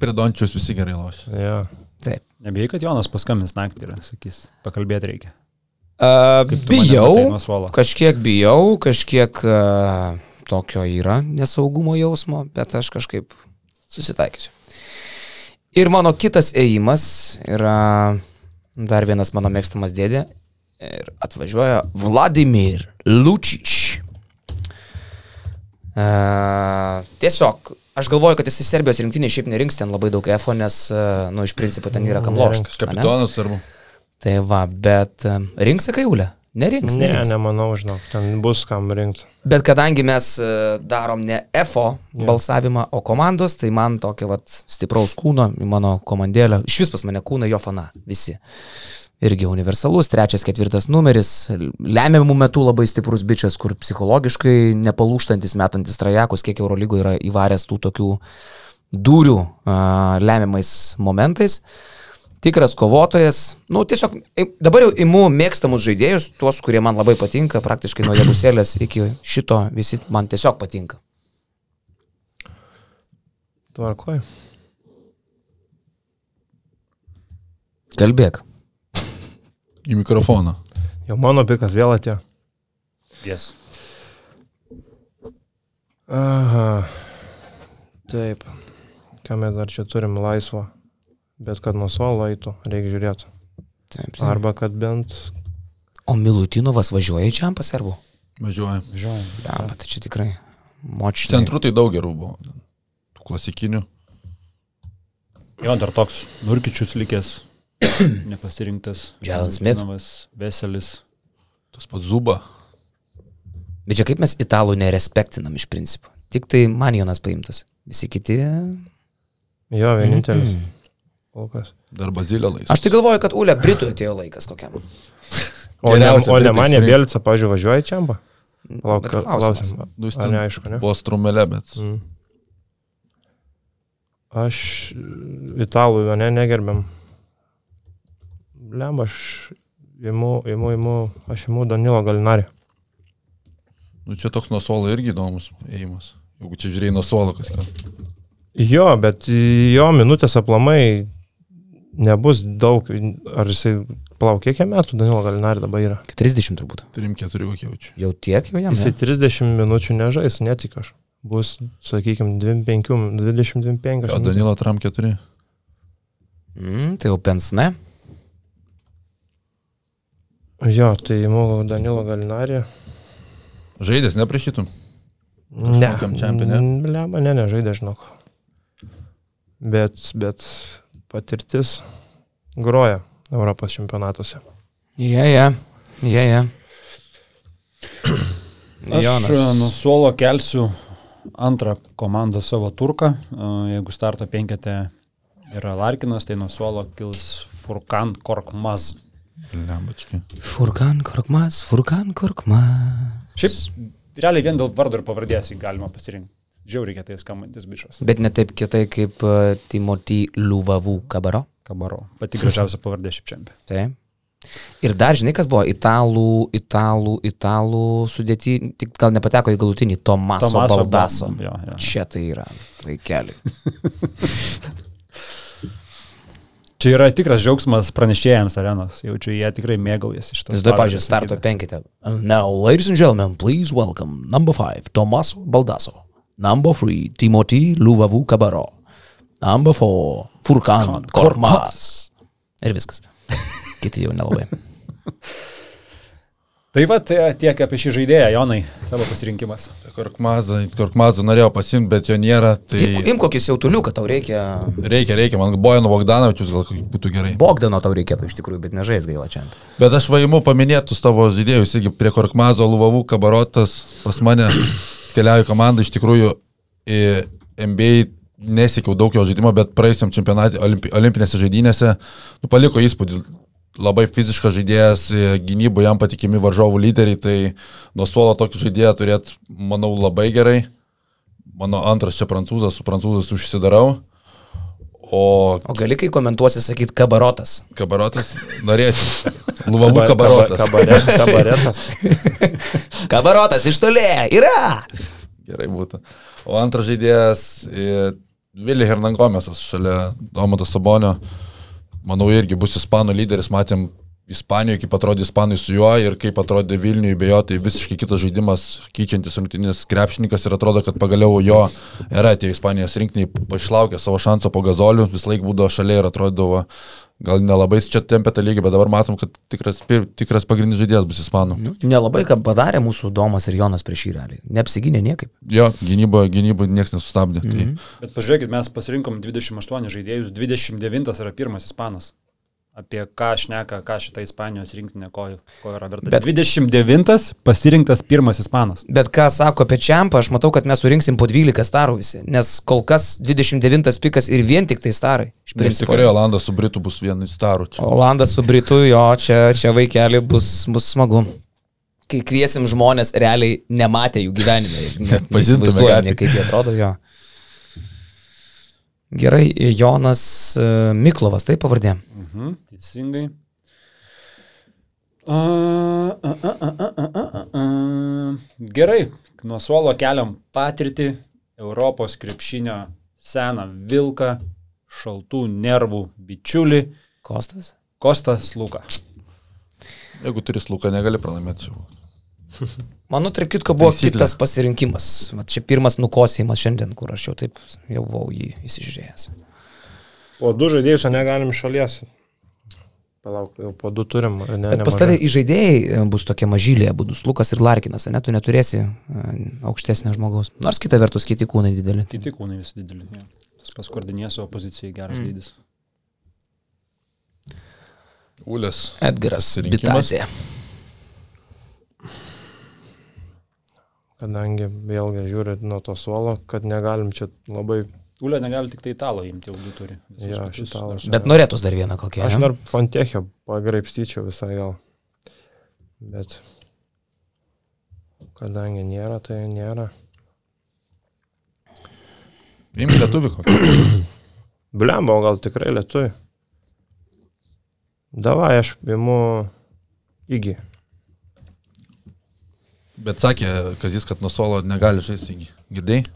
C: Prie Dončius visi gerai lošia.
A: Ja.
B: Taip.
D: Nebijai, kad Jonas paskambins naktį ir sakys, pakalbėti reikia.
B: Uh,
D: tu mane matei
B: bijau,
D: nuo suolo?
B: kažkiek bijau, kažkiek uh, tokio yra nesaugumo jausmo, bet aš kažkaip susitaikysiu. Ir mano kitas ėjimas yra dar vienas mano mėgstamas dėdė. Ir atvažiuoja Vladimir Lučič. Uh, E, tiesiog, aš galvoju, kad jis į Serbijos rinktinį šiaip nerinks ten labai daug EFO, nes, uh, nu, iš principo ten yra kam lošti.
C: Kapitonas arba.
B: Tai va, bet em, rinks akaulę. Nerinks,
A: Ne,
B: nerinks. Ne,
A: nemanau, žinau, ten bus kam rinkti.
B: ne. Bet kadangi mes e, darom ne EFO balsavimą, o komandos, tai man tokio vat, stipraus kūno, į mano komandėlę, iš vis pas mane kūną, jo fana, visi. Irgi universalus, trečias, ketvirtas numeris, lemiamų metų labai stiprus bičias, kur psichologiškai nepalūštantis, metantis trajekus, kiek Eurolygo yra įvaręs tų tokių dūrių a, lemiamais momentais. tikras kovotojas. Nu, tiesiog im- dabar jau imu mėgstamus žaidėjus, tuos, kurie man labai patinka, praktiškai nuo Jebusėlės iki šito visi man tiesiog patinka.
A: Tvarkoj.
B: Kalbėk.
C: Į mikrofoną.
A: Jau mano pikas vėl atėjo.
D: Yes.
A: Aha. Taip. Ką mes dar čia turim laisvo. Bet kad nuo suolo eitų, reikia žiūrėti.
B: Taip, taip.
A: Arba kad bent...
B: O Milutinovas važiuoja čia pas servų.
C: Važiuoja.
D: Žinau.
B: Lemba, tai čia tikrai.
C: Iš
B: Močiutė.
C: centrų tai daug gerų buvo. Tų klasikinių.
D: Jo, dar toks Nurkičius likęs,
B: (coughs)
D: nepasirinktas.
B: Jalen Smith.
D: Valentinovas, Veselis.
C: Tas pats Zuba.
B: Bet čia kaip mes italų nerespektinam iš principo. Tik tai manionas paimtas. Visi kiti.
A: Jo, vienintelis.
C: Mhm.
A: Kol kas.
C: Dar Bazilio laisvas.
B: Aš tai galvoju, kad Ulė Britų atėjo laikas kokiam.
A: O ne,
C: Geriausia
A: o ne
C: taip
A: manė
C: išsirinkt.
A: Bėlica, pažiūrėjau, važiuoja čia amba? Lauk,
B: Bet klausimas.
A: klausim.
C: Nu, jis
A: Ar
C: ten
A: neaišku, ne? Mm.
C: Buvo strumelė, bet.
A: Aš italų, jo, ne, negerbiam. Lemba, aš imu, imu, imu, aš imu Danilo Galinarį.
C: Nu, čia toks nuo suolo irgi įdomus ėjimas. Jeigu čia žiūrėjai nuo suolo, kas ten.
A: Jo, bet jo minutės aplamai nebus daug. Ar jisai plaukė kiek jam metų, Danilo Galinari dabar yra?
B: 30 turbūt.
C: 3-4 kokie jaučiu.
B: Jau tiek jau jam.
A: Jisai
B: ne?
A: 30 minučių nežais, netikiu aš. Bus, sakykime, 25-25.
C: O Danilo Tram 4.
B: Mm, tai jau pensne.
A: Jo, tai imu Danilo Galinari.
C: Žaidės, neprašytum.
A: Ne.
C: Kažkokiam čempionė?
A: Lemba, ne, nežaidė, žinok. Bet, bet patirtis groja Europos čempionatuose.
B: Jie, jie, jie, jie.
D: Aš e, nuo suolo kelsiu antrą komandą savo turką. E, Jeigu starto penkete yra Larkinas, tai nuo suolo kils Furkan Korkmaz.
C: Lembački.
B: Furkan Korkmas, Furkan Korkmas.
D: Šiaip realiai vien dėl vardo ir pavardės jį galima pasirinkti. Žiauriai kietai skambantis bičias.
B: Bet ne taip kitai kaip e, Timothy Luvavų kabaro.
D: Kabaro. Pati gražiausia pavardė šiaip čempionė.
B: Taip. Ir dar žinai, kas buvo italų, italų, italų sudėti, tik gal nepateko į galutinį Tomaso,
D: Tomaso
B: Tomaso Baldaso.
D: Ba- jo, jo.
B: Čia tai yra, vaikeli.
D: Čia yra tikras džiaugsmas pranešėjams arenos. Jaučiu, jie tikrai mėgaujasi iš to.
B: Jūs du, pavyzdžiui, starto penkite. Now, ladies and gentlemen, please welcome number five, Tomaso Baldaso. Number three, Timothy Luvavų kabaro. Number four, Furkan Kormas. Ir viskas. (laughs) Kiti jau nelabai.
D: Tai va, tai tiek apie šį žaidėją, Jonai, savo pasirinkimas.
C: Korkmazą, Korkmazą norėjau pasimti, bet jo nėra. Tai
B: (laughs) Im kokį jautuliuką tau reikia.
C: reikia, reikia. Man Bojano Vogdanovičius gal kokį būtų gerai.
B: Bogdano tau reikėtų iš tikrųjų, bet nežais gaila čia.
C: Bet aš vaimu paminėtus tavo žaidėjus, irgi prie Korkmazo Luvavų kabarotas pas mane keliauja komanda, iš tikrųjų į NBA nesiekiau daug jo žaidimo, bet praėjusiam čempionatui olimpi, olimpinėse žaidynėse nu, paliko įspūdį. Labai fiziškas žaidėjas, i, gynybų jam patikimi varžovų lyderiai, tai nuo suolo tokį žaidėją turėt, manau, labai gerai. Mano antras čia prancūzas, su prancūzas užsidarau. O
B: O gali, kai komentuosi, sakyti kabarotas.
C: kabarotas, norėčiau. Luvavų kabarotas.
A: Kabare, kabaretas.
B: Kabarotas iš toli yra.
C: Gerai būtų. O antras žaidėjas e, Vili Hernangomėsas šalia Domato Sabonio. Manau, irgi bus ispanų lyderis. Matėm Ispanijoje, kaip atrodė Ispanai su juo ir kaip atrodė Vilniuje be jo, tai visiškai kitas žaidimas, keičiantis rinktinės krepšininkas ir atrodo, kad pagaliau jo yra atėjo Ispanijos rinktiniai, pašlaukė savo šanso po gazolių, vis laik būdavo šalia ir atrodydavo, gal nelabai čia tempė tą lygį, bet dabar matom, kad tikras, pir- tikras pagrindinis žaidėjas bus Ispanų.
B: Nelabai ką padarė mūsų Domas ir Jonas prieš jį realiai. Neapsiginė niekaip.
C: Jo, gynybo, gynybo niekas nesustabdė. Mm -hmm. tai,
D: Bet pažiūrėkit, mes pasirinkom 28 žaidėjus, 29 yra pirmas ispanas. Apie ką šneka, ką šitą Ispanijos rinktinę, ko, ko yra verta.
B: Bet-
D: Bet 29 pasirinktas pirmas ispanas.
B: Bet ką sako apie Čempą, aš matau, kad mes surinksim po 12 starų visi, nes kol kas 29 pikas ir vien tik tai starai. Iš
C: Nes
B: principo.
C: tikrai Olandas su Britu bus vienas starų čia.
B: Olandas su Britu, jo, čia, čia vaikeli bus, bus smagu. Kai kviesim žmonės, realiai nematė jų gyvenime. ir net (laughs)
C: Atpažintume
B: neįsivaizduojam,
C: gatvėj.
B: nei kaip jie atrodo jo. Gerai, Jonas e, Miklovas, tai pavardė.
D: Mhm, teisingai. A, a, a, a, a, a, a, a. Gerai, nuo suolo keliam patirtį Europos krepšinio seną vilką, šaltų nervų bičiulį
B: Kostas?
D: Kostas Luka.
C: Jeigu turi sluką, negali pralaimėti čia.
B: Mano, tarp kitko, buvo
C: Taisyklė.
B: Taisyklė. kitas pasirinkimas. Va čia pirmas nukosėjimas šiandien, kur aš jau taip jau buvau jį įsižiūrėjęs.
A: O du žaidėjus jau negalim iš šalies. Palauk, jau po du turim. Ne,
B: Bet pas
A: nemažai.
B: tavai įžaidėjai e, bus tokie mažylė, būdus Lukas ir Larkinas, ne, tu neturėsi e, aukštesnio žmogaus. Nors kita vertus, kiti kūnai dideli.
D: Kiti kūnai visi dideli. Tas paskordinės opozicijai geras dydis.
C: Ulės.
B: Edgaras
C: Pasirinkimas.
B: Bitazė.
A: Kadangi vėlgi žiūrit nuo to suolo, kad negalim čia labai...
D: Ulė negali tik tai italo imti, jau du turi. Visus
A: Jo,
D: kitus
A: šitą
D: dar-
A: aš-
B: Bet norėtus dar vieną kokią.
A: Aš
B: ne?
A: dar Fontechio pagraipstyčiau visą gal. Bet kadangi nėra, tai nėra.
C: Imk lietuvių kokį.
A: (coughs) Blemba, o gal tikrai lietuvi. Davai, aš imu įgy.
C: Bet sakė, kad jis, kad nuo solo negali žaisti. Girdėjai? Ne,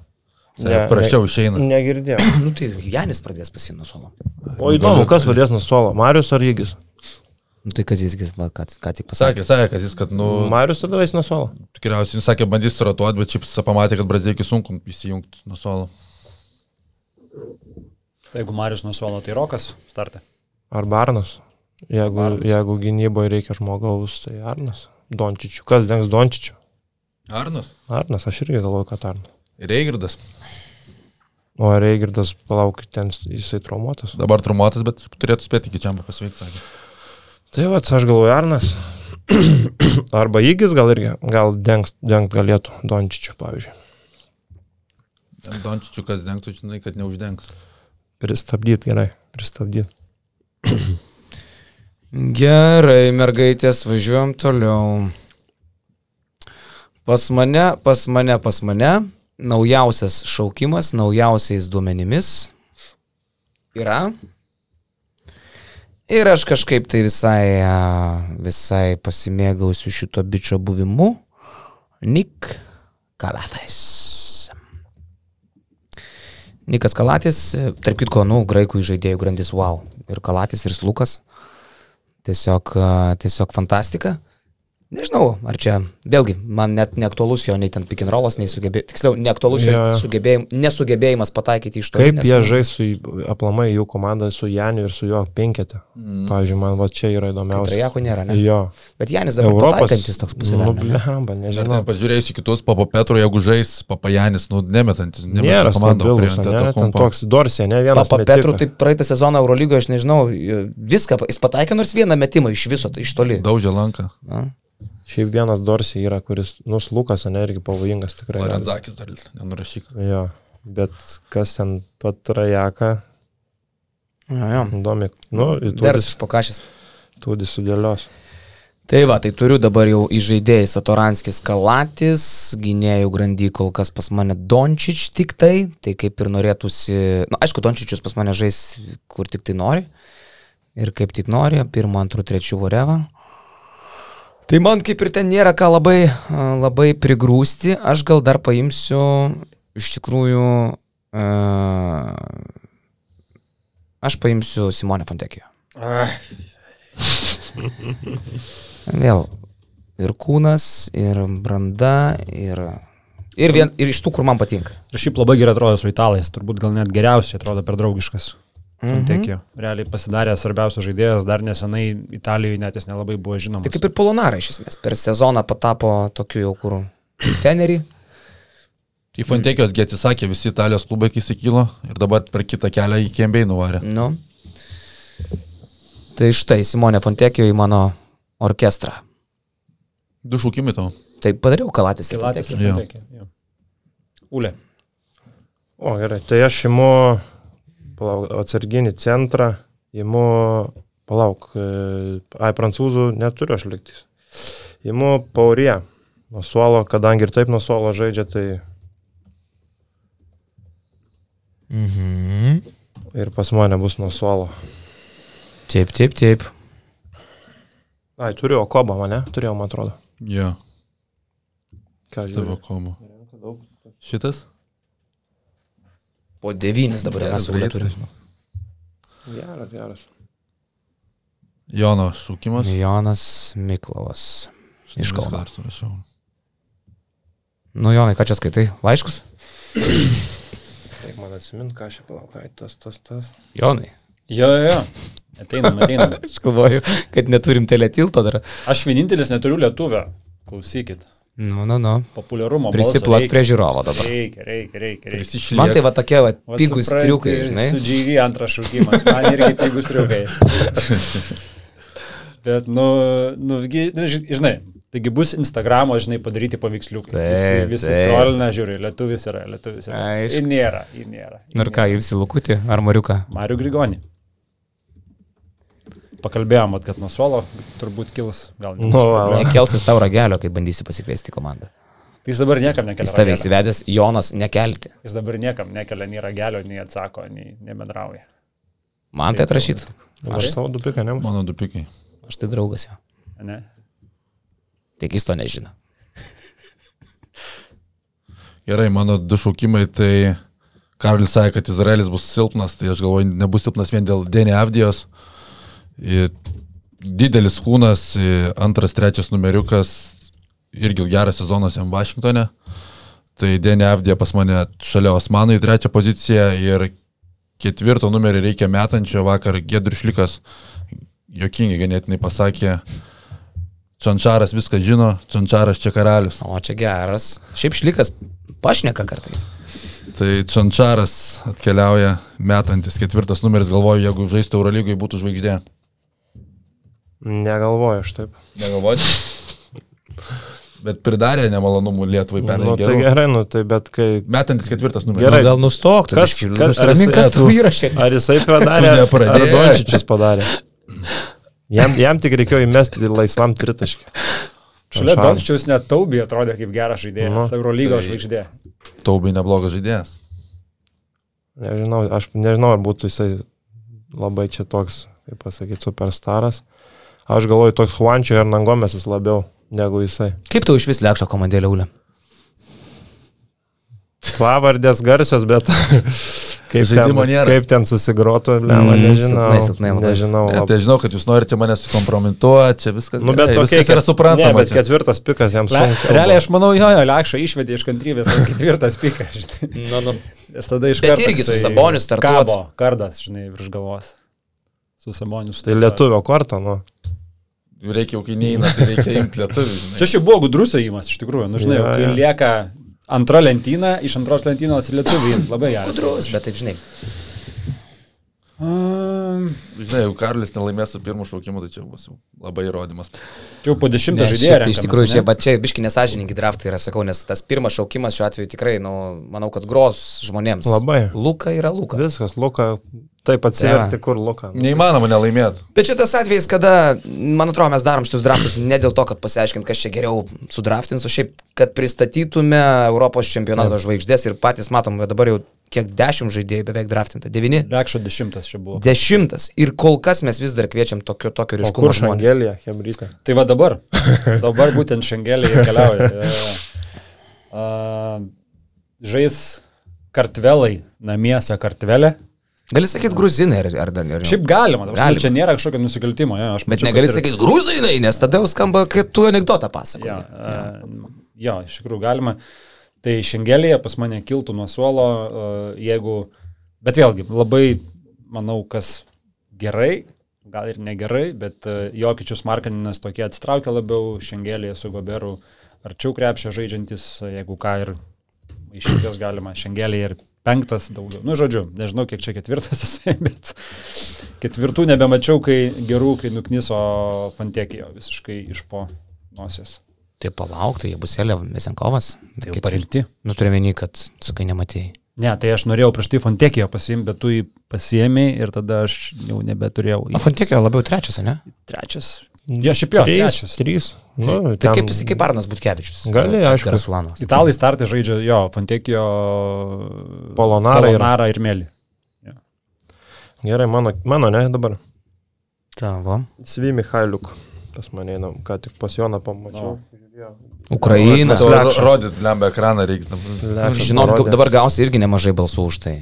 A: Ne, Mm.
C: prašiau išeina.
A: Negirdėjau.
B: Nu tai Janis pradės pasinu solo.
A: O įdomu, kas pradės nuo suolo. Marius ar įgis?
B: Nu tai kas jisgi va, ką, ką tik pasakė.
C: Sakė, sakė, kad jis, kad, nu,
A: Marius tada eis nuo suolo.
C: tikriausiai, jis sakė, bandys ratuoti, bet šiaip jis pamatė, kad brazdėkiai sunku įsijungti nuo solo.
D: Tai jeigu Marius nusuolo, tai Rokas startė.
A: Ar Barnas? Jeigu,
D: Barnas.
A: jeigu gynyboje reikia žmogaus, tai Arnas. Dončičių. Kas dengs Dončičių?
C: Arnas?
A: Arnas, aš irgi galvoju, kad Arnas.
C: Reigirdas.
A: O Reigirdas, palaukit, ten jisai traumuotas.
C: Dabar trumotas, bet turėtų spėti iki čia pasveikti, sakė.
A: Tai va, aš galvoju, Arnas. (clears throat) Arba Įgis gal irgi, gal dengs, dengt galėtų Dončičių, pavyzdžiui.
C: Dončičiu, kas dengtų, žinai, kad neuždengs.
A: Pristabdyt gerai, pristabdyt.
B: Gerai, mergaitės, važiuojam toliau. Pas mane, pas mane, pas mane. naujausias šaukimas, naujausiais duomenimis yra. Ir aš kažkaip tai visai, a, visai pasimėgausiu šito bičio buvimu. Nik Kalatas. Nikas Kalatis, e, tarp kitko, nu, graikų žaidėjų grandis, wow. Ir Kalatis, ir Slukas. Tiesiog, a, tiesiog fantastika. Nežinau, ar čia, vėlgi, man net neaktualus jo, nei ten pikinrolas, nei sugebėjimas, tiksliau, neaktualus jo
A: Jo, jo.
B: sugebėjim, nesugebėjimas pataikyti iš to.
A: Kaip jie žais su aplamai jų komanda, su Janiu ir su jo penkete. Mm. Pavyzdžiui, man va čia yra įdomiausia.
B: Trajako nėra, ne?
A: Jo.
B: Bet Janis dabar
A: Europos.
B: pataikantis toks
A: Nu,
B: pusiau.
A: blemba,
C: Ir
A: nežinau.
C: ten pažiūrėjus į kitus, papa Petro, jeigu žais, papa Janis, nu, nemetantis, nemetantis
A: Nėra stabilus, ne? Ten toks Dorsė, ne vienas.
B: Papa
A: metikas.
B: Petru, tai praeitą sezoną Eurolygoje, aš nežinau, viską, pa- jis pataikė nors vieną metimą iš viso, tai iš toli.
C: Daužė lanką.
B: Na.
A: Šiaip vienas Dorsė yra, kuris, nus Lukas, ne, irgi pavojingas tikrai.
C: Lorenzakis dar nenurašyk.
A: Jo, bet kas ten to trajaka,
B: Jo, jo.
A: įdomi. Nu, į
B: Deras
A: tūdis,
B: iš pokašės.
A: tūdis sudėlios.
B: Tai va, tai turiu dabar jau įžaidėjai Satoranskis Kalatis, gynėjų grandy kol kas pas mane Dončič tik tai, tai kaip ir norėtųsi, na nu, aišku, Dončičius pas mane žais kur tik tai nori ir kaip tik nori, pirmo, antro, trečio vorevą. Tai man kaip ir ten nėra ką labai, a, labai prigrūsti, aš gal dar paimsiu iš tikrųjų, a, aš paimsiu Simonę Fontekiją. Vėl ir kūnas, ir branda, ir, ir, vien, ir iš tų, kur man patinka.
D: Ir šiaip labai gerai atrodo su italais, turbūt gal net geriausiai atrodo per draugiškas.
B: Mhm.
D: Fantekijo. Realiai pasidarė svarbiausias žaidėjas, dar nesenai Italijoje net jis nelabai buvo žinomas.
B: Tai kaip ir Polonara iš esmės. Per sezoną patapo tokiu jau kur Fenerį.
C: Į Fantekijos gi atsisakė visi italijos klubai, kai įsikylo ir dabar per kitą kelią į Kembei nuvarė.
B: Nu. Tai štai Simonė Fontekijo į mano orkestrą.
C: Du šūkimai tau.
B: Tai padariau kalatis. ir
D: Kilatis
B: Fontekijų.
D: ir
C: Jo.
D: Fantekijo. jo. Ule.
A: O, gerai, tai aš imu palauk, atsarginį centrą, imu, palauk, e, ai, prancūzų neturiu aš liktis. Imu paurė nuo suolo, kadangi ir taip nuo suolo žaidžia, tai
B: Mhm.
A: ir pas mane bus nuo suolo.
B: Taip, taip, taip.
A: Ai, turiu okobą mane, turėjau, man atrodo.
C: Jo,
A: Ką aš
C: tavo
A: žinau.
C: komu. Šitas?
B: Po devynis dabar mes su Ule
C: Geras,
B: turime.
C: žinau.
A: Geras, geras.
C: Jono šūkimas.
B: Jonas Miklovas. Iš
C: Viską
B: Kauno.
C: Dar surašiau.
B: Nu, Jonai, ką čia skaitai? Laiškus?
A: Reikia man atsiminti, ką aš čia palaukai, tas, tas, tas.
B: Jonai.
D: Jo, jo, jo. Ateinam, ateinam.
B: Aš galvoju, kad neturim teletilto dar.
D: Aš vienintelis neturiu lietuvę. Klausykit.
B: Nu, nu, nu.
D: Populiarumo. balso
B: Prisiplak
D: reikia.
B: prie žiūrovo dabar.
D: Reikia, reikia, reikia. reikia.
B: Man tai
C: Prisišlieka.
B: va tokie va,
D: Vat
B: pigus
D: supranti,
B: triukai, žinai.
D: Su GV antras šaukimas, man irgi pigus triukai. Bet, nu, nu, gi- nu, ži- žinai, taigi bus Instagramo, žinai, padaryti paveiksliukai.
B: Taip,
D: visi visi
B: taip.
D: skrolina, žiūri, lietuvis yra, lietuvis yra.
B: Aišku.
D: Ir nėra, ir nėra. ir
B: Nu Ir ką, jūs įlukutį ar mariuką?
D: Mariu Grigonį. Pakalbėjom, vat, kad nuo suolo turbūt kils, gal ne.
A: Nu, va, va.
B: Nekelsis tau ragelio, kai bandysi pasikviesti komandą.
D: Tai jis dabar niekam nekelia.
B: Jis tave
D: ragelio.
B: įsivedęs, Jonas, nekelti.
D: Jis dabar niekam nekelia nei ragelio, nei atsako, nei nebendrauja.
B: Man tai atrašyt.
A: Aš savo dupiką nemu.
C: Mano du pikai.
B: Aš tai draugas jo.
D: Ne?
B: Tik jis to nežino.
C: Gerai, mano du šūkimai tai Karolis sakė, kad Izraelis bus silpnas, tai aš galvoju, nebus silpnas vien dėl Denė Avdijos. I- Didelis kūnas, i, antras, trečias numeriukas, irgi geras sezonas jam Vašingtone. Tai Denė Avdija pas mane šalia Osmanų į trečią poziciją ir ketvirto numerį reikia metančio vakar Gedrišlikas, jokingai ganėtinai pasakė, Čančaras viską žino, Čančaras čia karalius.
B: O čia geras. Šiaip šlikas pašneka kartais.
C: Tai Čančaras atkeliauja metantis ketvirtas numeris, galvoju, jeigu žaistų Eurolygoje būtų žvaigždė.
A: Negalvoju aš taip.
C: Negalvoju. Bet pridarė nemalonumų Lietuvai pernai.
A: Nu, tai
C: Nu,
A: gerai, nu, tai bet kai...
C: metantis ketvirtas numeris.
A: Gerai.
B: Nu, gal nustok, tu
A: Kas-
B: biškį,
A: kas-
B: nusiramink,
A: ar-
B: kas
A: ar (laughs)
B: tau
A: tu-
B: įrašė.
A: Ar jisai padarė?
C: Tu
A: Ar
C: nepradėjai.
A: Dončičius padarė? Jam, jam tik reikėjo įmesti laisvam tritaškį.
D: Šalia
A: Šanšaras.
D: Dončiaus net Taubį atrodė kaip geras žaidėjas,
A: Nu,
D: Eurolygos
C: tai-
D: žvaigždė.
C: Taubai neblogas žaidėjas.
A: Nežinau, aš nežinau, ar būtų jisai labai čia toks, kaip pasakyti, superstaras. Aš galvoju, toks Juančio ir Nangomėsis labiau negu jisai.
B: Kaip tu iš vis lėkšo komandėlė ulė?
A: Pavardės garsios, bet (laughs) kaip, ten,
C: Žaidimo nėra.
A: kaip ten susigrotų, lemą,
B: Mm,
A: nežinau.
B: silpnai, silpnai labai.
A: nežinau
C: Ne,
A: labai.
C: tai žinau, kad jūs norite mane sukompromituoti, čia viskas,
A: Nu, bet
C: gerai,
A: tokie,
C: viskas yra
A: kad-
C: suprantama.
A: Ne, bet
C: čia.
A: ketvirtas pikas jam
D: Le,
A: sunku.
D: realiai aš manau, jo, jo, Lekša išvedė iš kantrybės, tas ketvirtas pikas, žinai.
B: Nu, nu.
D: Nes tada iš
B: Bet
D: karto
B: irgi su
D: jisai
B: Saboniu startuot.
D: Kabo, kardas, žinai, virš galvos. Su Saboniu
A: Tai lietuvio kortą, nu.
C: Reikia jau kainėjimą, tai reikia imti lietuvių. žinai.
D: Čia šiaip buvo gudrus įjimas, iš tikrųjų. Nu,
A: Jo,
D: žinai, ja, kai
A: jo.
D: ja. lieka antra lentyna, iš antros lentynos į lietuvį. Labai gerai.
B: Gudrus, bet taip žinai.
C: Žinai, jeigu Karlis nelaimės su pirmu šaukimu, tai čia bus jau labai įrodymas.
D: Jau po dešimtą žaidėją.
B: Šiaip, tai iš
D: renkamės,
B: tikrųjų,
D: ane?
B: čia, bet čia biški nesažininkai draftai yra, sakau, nes tas pirmas šaukimas šiuo atveju tikrai, nu, manau, kad gros žmonėms.
A: Labai.
B: Luka yra Luka.
A: Viskas, Luka, taip atsiverti, kur Luka. nu.
C: Neįmanoma nelaimėti.
B: Bet šitas atvejis, kada, man atrodo, mes darom šitus draftus ne dėl to, kad pasiaiškint, kas čia geriau sudraftins, o šiaip, kad pristatytume Europos čempionato žvaigždės ir patys matom, kad dabar jau kiek dešimt žaidėjų beveik draftinta, devyni,
D: Lekšo dešimtas čia buvo.
B: dešimtas ir kol kas mes vis dar kviečiam tokio, tokio
A: O
B: ryškumo
A: kur
B: žmonės.
A: Šangelija, Hebrytė?
D: Tai va dabar. (laughs) Dabar būtent šengelė ir keliauja.
B: (laughs)
D: Jo, jo. A, Žais kartvelai, namiesa kartvelė.
B: Gali sakyti gruzinai ar, ar dar ar
D: Šiaip galima, ta prasme,
B: Galima.
D: čia nėra kažkokio nusikaltimo. Jo, aš
B: Bet
D: mačiau,
B: negali
D: kad ir-
B: sakyti gruzinai, nes tada jau skamba, kad tu anegdotą pasakoji.
D: Jo, a, jo, iš tikrųjų galima. Tai šengelėje pas mane kiltų nuo suolo, a, jeigu... Bet vėlgi, labai, manau, kas gerai, gal ir negerai, bet a, Jokičius Markaninas tokie atsitraukia labiau, šengelėje su Goberu arčiau krepšio žaidžiantis, a, jeigu ką ir iš širdies galima, šengelėje ir penktas daugiau. Nu, žodžiu, nežinau, kiek čia ketvirtas (laughs) jisai, bet ketvirtų nebemačiau, kai gerų, kai nukniso Fantekijo visiškai iš po nosies.
B: Tai palaukti, jie bus Elė Mesenkovas.
D: jau parinkti.
B: Nu, turime į, kad, sakai, nematėjai.
D: Ne, tai aš norėjau prieš tai Fontekijo pasiimti, bet tu jį pasiemi ir tada aš jau nebeturėjau.
B: O Fantekio labiau trečias, ne?
D: Trečias. Jo, šiaip jo, trečias.
A: Trys. Nu,
B: Tai
A: ten-
B: kaip jisai, kaip Arnas Butkevičius. tai
A: Gali, aišku.
B: Raslanas.
D: Italai startai žaidžia, jo, Fontekijo.
A: Polonara yra.
D: Polonara ir Mėly.
A: Gerai, mano, mano, ne, dabar.
B: Tavo.
A: Svi Mihailiuk. Pas mane einam, ką tik pas Joną pamačiau.
B: Ukraina.
A: Vat mes-
C: Ro-
A: Lekša.
C: Rodyt, lemba ekraną reiks.
A: Lečas
B: Žinot,
A: parodė.
B: dabar gausi irgi nemažai balsų už tai.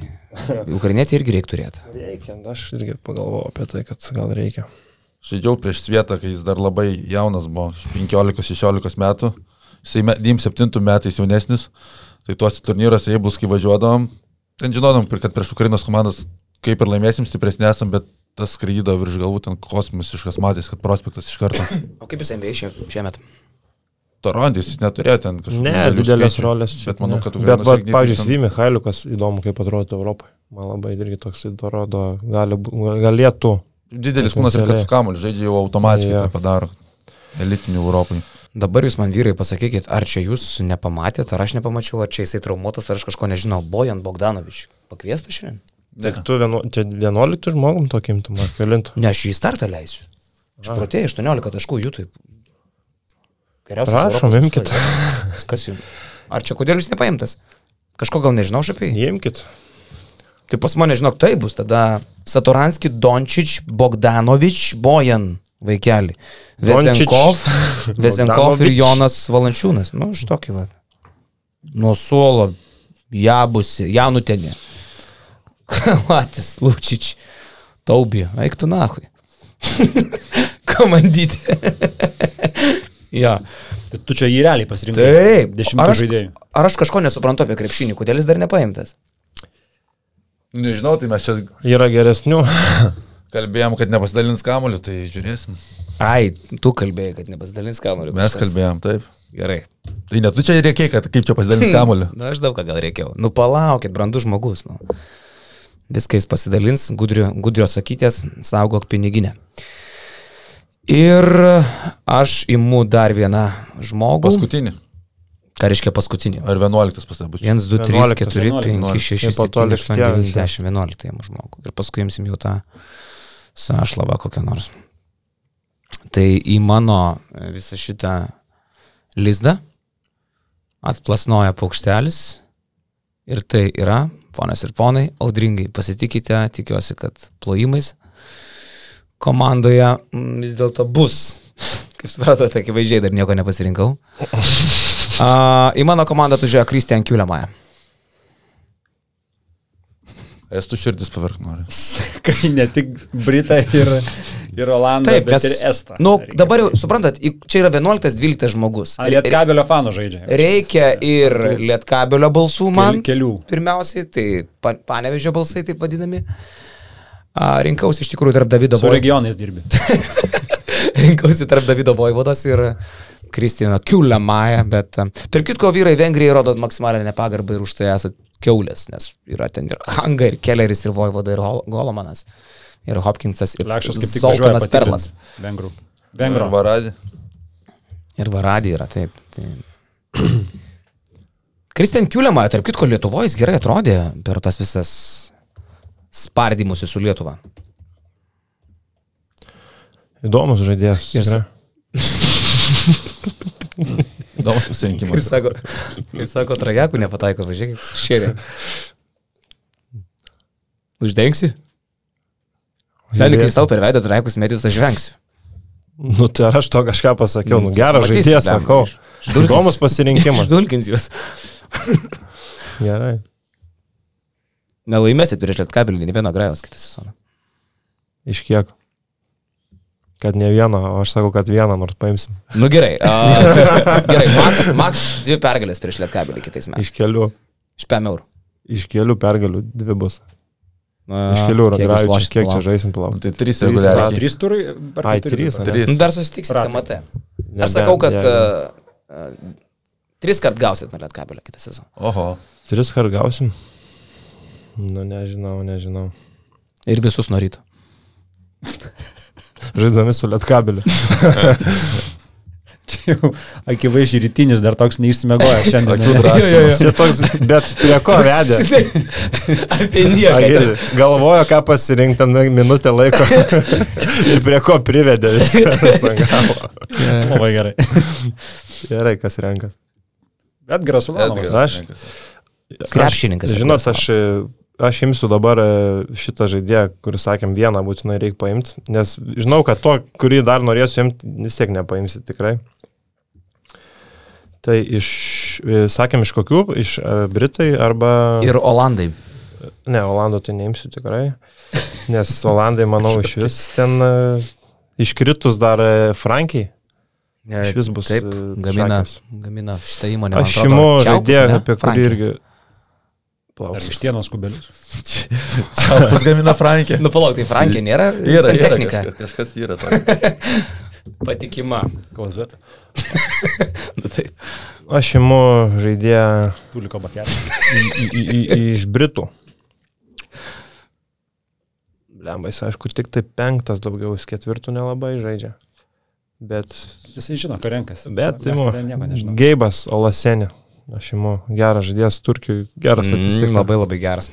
B: Ukrainietį irgi reikia turėti.
A: Reikia, nu, aš irgi pagalvojau apie tai, kad gal reikia.
C: Žaidžiau prieš Svietą, kai jis dar labai jaunas buvo, 15-16 metų. Jisai 27 metais jaunesnis. Tai tuose turnyruose, jeigu bus, kai važiuodavom, ten žinodom, kad prieš Ukrainos komandas kaip ir laimėsim, stipresnė esam, bet tas skraido virš galvų ten kosmosiškas matys, kad prospektas iš karto.
B: O kaip jis MBA šie, šiemet?
C: Torontis jis neturėjo ten kažkokių
A: Ne,
C: didelių
A: didelės
C: skaičių,
A: rolės. čia
C: Bet manau,
A: ne.
C: kad
A: Bet,
C: Ukrainos
A: va,
C: Ignitis
A: pavyzdžiui,
C: ten-
A: Svi Mihailiukas įdomu, kaip atrodo Europoje. Man labai irgi toks įdomu, gali, bū- galėtų.
C: Didelis kūnas ir kad
A: Potencialiai.
C: su kamuoliu žaidžia jau automatiškai
A: Jo.
C: tą padaro. Elitinių Europai.
B: Dabar jūs man vyrai pasakykit, ar čia jūs nepamatėt, ar aš nepamačiau, ar čia jisai traumuotas, ar aš kažko nežinau. Bojan Bogdanovič. Pakviestas šiandien?
A: Tik Tai tu vienu, čia 11 žmogum tokim, tu man kelintų.
B: Ne, aš jį į startą leisiu. Aš protėjau 18 taškų jų taip. Geriausias
A: Prašom,
B: Europos
A: imkit.
B: žaidėjas. Kas jums? Ar čia kodėl jūs nepaimtas? Kažko gal nežinau, šapiai?
A: Įimkit.
B: Tai pas mane, žinok, tai bus tada Satoranski, Dončič, Bogdanovič, Bojan, vaikeli.
A: Dončič,
D: (laughs)
B: Vesenkov, Vesenkov ir
A: Bogdanovič.
B: Jonas Valančiūnas. Nu, iš tokį va. Nuo suolo, jabusi, janutenė. (laughs) Kalatis, Lučič, Taubė, eik tu nahui. (laughs) Komandyti. (laughs) ja.
D: Tai tu čia jį realiai pasirinkai.
B: Taip,
D: Dešimtas žaidėjų. (laughs)
B: Ar aš kažko nesuprantu apie krepšinį, kodėl jis dar nepaimtas?
C: Nežinau, tai mes čia
A: Yra geresnių.
C: kalbėjom, kad nepasidalins kamuoliu, tai žiūrėsim.
B: Ai, tu kalbėjai, kad nepasidalins kamuoliu.
C: Mes kalbėjom, taip.
B: Gerai.
C: Tai net tu čia reikėjo, kad kaip čia pasidalins kamuoliu.
B: Na, aš daug ką gal reikėjau. Nu, palaukit, brandus žmogus. Nu. Viską jis pasidalins, gudrio, gudrio sakytės, saugok piniginę. Ir aš imu dar vieną žmogų.
C: Paskutinį.
B: Ką reiškia paskutinį?
C: Ar vienuoliktas pasakyčiau.
B: 1, 2, 3,
A: 11,
B: 4, 5, 6,
A: Ir po
B: 7,
A: to
B: 8,
A: liks
B: 9,
A: tie visi.
B: 10, 11 imu žmogų. Ir paskui imsim jau tą sašlavą kokią nors. Tai į mano e, visą šitą lizdą atplasnoja paukštelis Ir tai yra, ponas ir ponai, audringai pasitikite, tikiuosi, kad plojimais komandoje mm, vis dėlto bus. (laughs) Kaip supratote, akivaizdžiai dar
A: (laughs)
B: nieko nepasirinkau. A, į mano komandą atvažiavo Kristian Kiuliamaja.
C: Esu širdis pavark noriu.
D: Kai ne tik Britą ir, ir Olandą,
B: Taip,
D: Taip, bet
B: nes,
D: nes, ir Estą.
B: nu,
D: Reikia
B: dabar jau,
D: pasakyt.
B: suprantat, į- čia yra 11-12 žmogus.
D: Ar jie kabelio fanų žaidžia?
B: Reikia ir lietkabelio balsų man.
D: kelių.
B: Pirmiausiai, tai pa, panevežio balsai, taip vadinami. A, rinkausi iš tikrųjų tarp Davido,
D: Su
B: Boj...
D: regionais dirbi.
B: (laughs) rinkausi tarp Davido Vojvodas ir Kristino Kiulemaja, bet a, tarp kitko vyrai Vengrijai rodot maksimalinę nepagarbą ir už tai esat keulės, nes yra ten ir Hanga, ir Kelleris, ir Vojvoda, ir Hol- Golomanas, ir Hopkinsas, ir
D: Lekšas kaip tik važiuoja
B: Zoltanas Perlas.
D: patikrinti. Vengrų.
C: Ir
D: Vengrų.
C: Varadį.
B: Ir Varadį yra, taip. tai. taip. Kristian Kiuliamą, tarp kitko, Lietuvoje jis gerai atrodė per tas visas spardymus su Lietuva.
A: Įdomus žaidėjas.
B: Ir sa-
A: tikrai.
C: Įdomus pasirinkimas.
B: sako, ir sako trajekų nepataiko, važiuok, šėrė. Uždengsi? Seniai, kai
A: Žaidėjas.
B: tau per veidą trajekus metys, aš vengsiu.
A: Nu, tai ar aš to kažką pasakiau. Nu, geras
B: Matysi,
A: žaidėjas,
B: blemba,
A: sakau.
B: iš- išdulkins.
A: Įdomus
B: (laughs)
A: pasirinkimas.
B: Ždulkins jūs.
A: Gerai.
B: Nelaimėsit prieš Lietkabilį, ne vieno grajos kitą sezoną.
A: Iš kiek? Kad ne vieną, o aš sakau, kad vieną nors paimsim.
B: Nu gerai. A, gerai, Max, Max dvi pergalės prieš Lietkabilį kitais metais.
A: Iš kelių.
B: Iš 5 eurų.
A: Iš kelių pergalių dvi bus.
B: Na,
A: Iš kelių
B: kiek jūs Nu,
A: ragauju,
B: lošit,
A: kiek čia
B: palauk.
A: žaisim plaukti.
C: Tai trys
A: Trys
D: Ar
C: reguliariai.
D: trys turai? ar
A: Ai,
D: keturi
A: trys,
D: turai?
A: ane?
C: Trys.
B: Nu, Dar susitiksite,
D: Ratai.
B: matai. Aš sakau, kad uh, uh, tris kart gausit nuo Lietkabelio kitą sezoną.
C: Oho.
A: Tris kart gausim? Nu, nežinau, nežinau.
B: Ir visus (laughs) norytų.
A: Žaisdami su lietkabeliu.
D: Čia jau akivaizdžiai rytinis dar toks
A: (laughs)
D: neišsimegojęs
C: Akių
D: šiandien.
C: drąsiai.
A: Čia toks, bet prie ko vedė? (laughs)
B: Apie
A: Agilį.
B: nieką.
A: Galvojo, ką pasirinkti minutę (laughs) laiko ir prie ko privedė (laughs) viskas. ant galo.
D: (laughs) Labai gerai.
A: Gerai, kas renkas.
D: Bet Grasulovas.
A: Aš-
B: Krepšininkas.
A: Aš, žinot, aš, aš imsiu dabar e, šitą žaidėją, kuris sakėm vieną būtinai reikia paimti, nes žinau, kad to, kurį dar norėsiu imti, vis tiek nepaimsi tikrai. Tai iš, e, sakėm, iš kokių, iš e, Britai arba...
B: Ir Olandai.
A: Ne, Olandų tai neimsiu tikrai, nes Olandai,
B: (laughs)
A: manau, iš vis
B: tai.
A: ten e, iškritus dar e, Frankiai. Iš vis bus,
B: Taip,
A: e,
B: gamina,
A: šakės.
B: gamina šitą įmonę. man
A: Aš
B: atrodo,
A: šimu
B: Čiaupus,
A: žaidėją,
B: ane?
A: apie kurį
B: Frankį.
A: irgi...
D: Ar
A: Plauk.
D: iš tienos kubelius?
C: Čiaupas gamina Frankė.
B: Nu palauk, tai Frankė nėra.
A: (laughs)
C: Yra,
B: Yra
C: yra
B: technika.
C: kažkas, kažkas yra. tokio.
B: Patikima.
D: Klazet.
B: (laughs) Nu, taip.
A: Aš šimu žaidėją
D: Tuliko bakelis.
A: į, į, į, į, iš Britų. Lembais, aišku, tik tai penktas daugiau, jis ketvirtų nelabai žaidžia. Bet,
D: Jisai žino, ką renkas.
A: bet
D: Mes
A: imu,
D: tada nieko nežinau.
A: Geibas Olasenė. Aš imu geras žaidėjas Turkijų, geras
B: Mm,
A: statistika.
B: labai labai geras.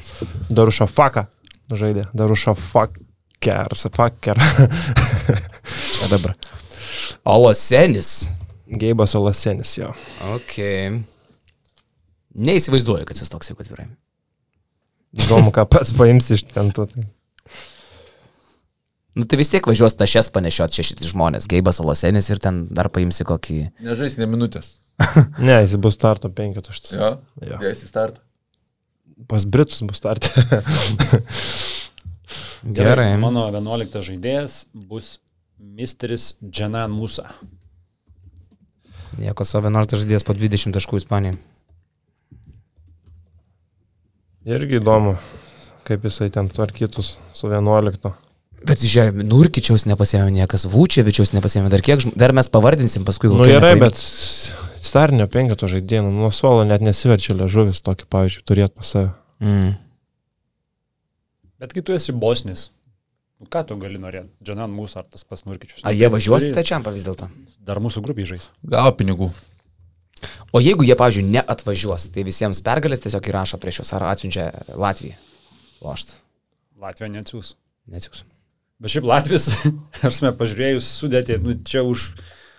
A: Darušafaka žaidė. Darušafaker. (laughs) Faker.
B: O dabar. Olosenis.
A: Geibas Olasenis, jo.
B: Ok. Neįsivaizduoju, kad jis toks, jeigu atvirai.
A: Įdomu, ką pats paims iš ten tu. tai.
B: Nu tai vis tiek važiuos tašes panešiot šešis žmonės, Geibas Alosenis ir ten dar paimsi kokį...
C: Nežais ne minutės.
A: Ne, jis bus starto penkitaštas.
C: Jo.
A: Jo.
C: Jis į startą.
A: Pas Britus bus startė. (laughs)
B: Gerai.
D: Mano 11 žaidėjas bus Misteris Dženan Musa.
B: Nieko savo 11 žaidėjas po 20 taškų Ispanijai.
A: Irgi įdomu, kaip jisai ten tvarkytus su 11.
B: Bet žiūrėjau, Nurkičiaus nepasėmė niekas, Vučievičiaus nepasėmė, dar kiek, žm- dar mes pavardinsim paskui.
A: Nu
B: kokių
A: gerai,
B: nepaėmė.
A: bet starnio penketo žaidėjų, nu, nuo suolo net nesiverčia ležuvis tokį, pavyzdžiui, turėt pas save.
B: Mm.
D: Bet kai tu esi bosnis, nu ką tu gali norėti? Dženan Musa ar tas pasmurkičius?
B: A jie važiuos į tačiampą vis dėlto.
D: Dar mūsų grupiai žais.
C: Gavo pinigų.
B: O jeigu jie, pavyzdžiui, neatvažiuos, tai visiems pergalės tiesiog įrašo prieš juos ar atsiunčia Latviją. Lošt.
D: Latvija neatsiūs.
B: Neatsiūs.
D: (laughs) Bet šiaip Latvijas, aš mes pažiūrėjus sudėti, nu čia už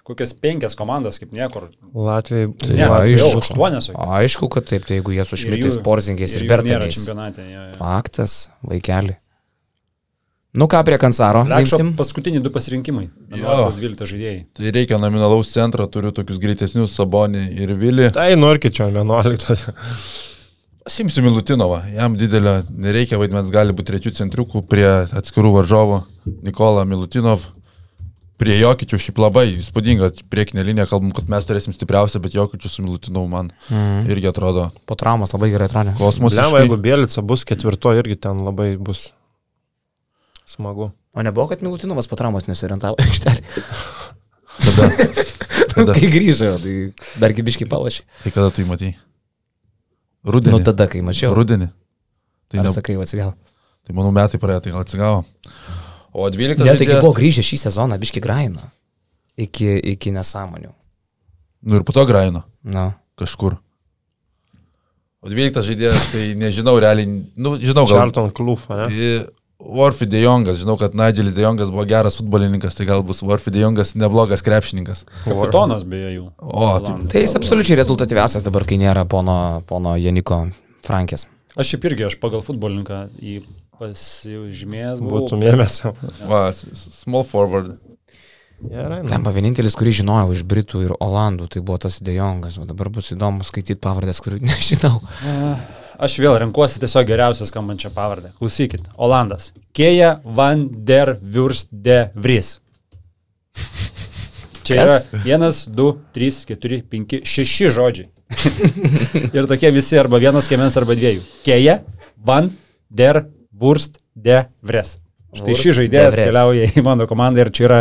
D: kokias penkias komandas kaip niekur.
A: Latvijai.
B: Ne,
D: Ne, tai
A: Latvijai
D: jau
B: aišku.
D: aštuonias. sakyčiau.
B: Aišku, kad taip, tai jeigu jie su
D: Ir
B: šmitais,
D: jų-
B: porzingais ir,
D: ir
B: ir
D: jų Nėra
B: bertaniais.
D: čempionate. jo, jo.
B: Faktas, vaikeli. Nu ką prie Kansaro?
D: Lekšo
B: Lenksim.
D: paskutiniai du pasirinkimai.
C: Jo.
D: Tos 12 žaidėjai.
C: Tai reikia nominalaus centro, turiu tokius greitesnius Sabonį ir Vilį.
A: Tai Norkičio 11.
C: Pasimsiu Milutinovą, jam didelio nereikia, vaidmens gali būti trečių centriukų prie atskirų varžovų. Nikola Milutinov, prie Jokičių šiaip labai įspūdinga priekinė linija, kalbam, kad mes turėsim stipriausią, bet Jokičių su Milutinovu man mm. irgi atrodo
B: Po traumas labai gerai atrodė.
C: kosmosas.
A: Lema, jeigu Bielica bus ketvirto, irgi ten labai bus smagu.
B: O nebuvo, kad Milutinovas po traumas nesiorientavo aikštelį. (laughs)
C: Tada, Tada.
B: Kai grįžo, tai dargi biškai palašė.
C: tai kada tu jį matai?
B: Nu
C: Rudenį.
B: tada, kai mačiau.
C: Rudenį. Tai,
B: Nu, Ar
C: ne,
B: sakai, atsigavo.
C: tai manau metai praėjo, tai gal atsigavo. O 12
B: Ne, tai kai
C: žaidėjas-
B: buvo grįžę šį sezoną, biški graino. Iki, iki nesąmonių.
C: Nu ir po to graino.
B: Na.
C: kažkur. O 12 žaidėjas, tai nežinau, realiai, nu, žinau, gal.
A: Charlton Kluf, ne?
C: I- Worfi De Jongas, žinau, kad Nigelis De Jongas buvo geras futbolininkas, tai gal bus Worfi De Jongas neblogas krepšininkas.
D: Kapitonas beje jų.
C: O, tai,
D: Olandų.
B: Tai jis absoliučiai rezultatyviausias dabar, kai nėra pono, pono Janiko Frankės.
D: Aš šiaip irgi, aš pagal futbolininką į pasižymėjęs
A: Būtų
D: buvau.
A: mėnesio.
C: tai, va, s- s- small forward.
A: Gerai, nu.
B: Ten pa vienintelis, kurį žinojau iš Britų ir Olandų, tai buvo tas Dejongas. O dabar bus įdomu skaityti pavardės, kurių (laughs) nežinau.
D: Aš vėl renkuosi tiesiog geriausią skambančią pavardę. Klausykit, Olandas. Keja van der Wurst de Vries. Čia yra
B: Kas?
D: 1, 2, 3, 4, 5, 6
B: (laughs)
D: žodžiai. Ir tokie visi arba vienas kiemens arba dviejų. Keja van der Wurst de Vries. Štai
B: Wurst
D: šį žaidėją
B: de Vries.
D: keliauja į mano komandą ir čia yra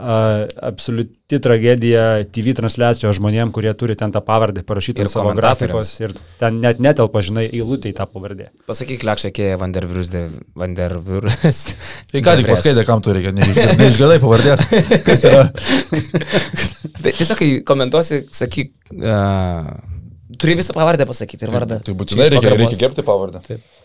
D: a, absoliuti tragedija TV transliacijos žmonėm, kurie turi ten tą pavardę parašytą
B: Ir
D: ir savo grafikos
B: komentatoriams.
D: ir ten net netelpa, žinai, eilutė į tą pavardę.
B: Pasakyk, lekšė, kėja Vandervirus de Vandervirus.
C: (laughs) Tai ką tik paskaitė, kam tu reikia, (laughs) neišgir- neišgirdai pavardės. Kas yra?
B: Tai tiesiog, kai komentuosi, sakyk, uh, turi visą pavardę pasakyti ir vardą.
C: Tai
B: Čia
C: būtinai
B: iš
C: reikia,
B: pagarbos.
C: reikia gerbti pavardę. Taip.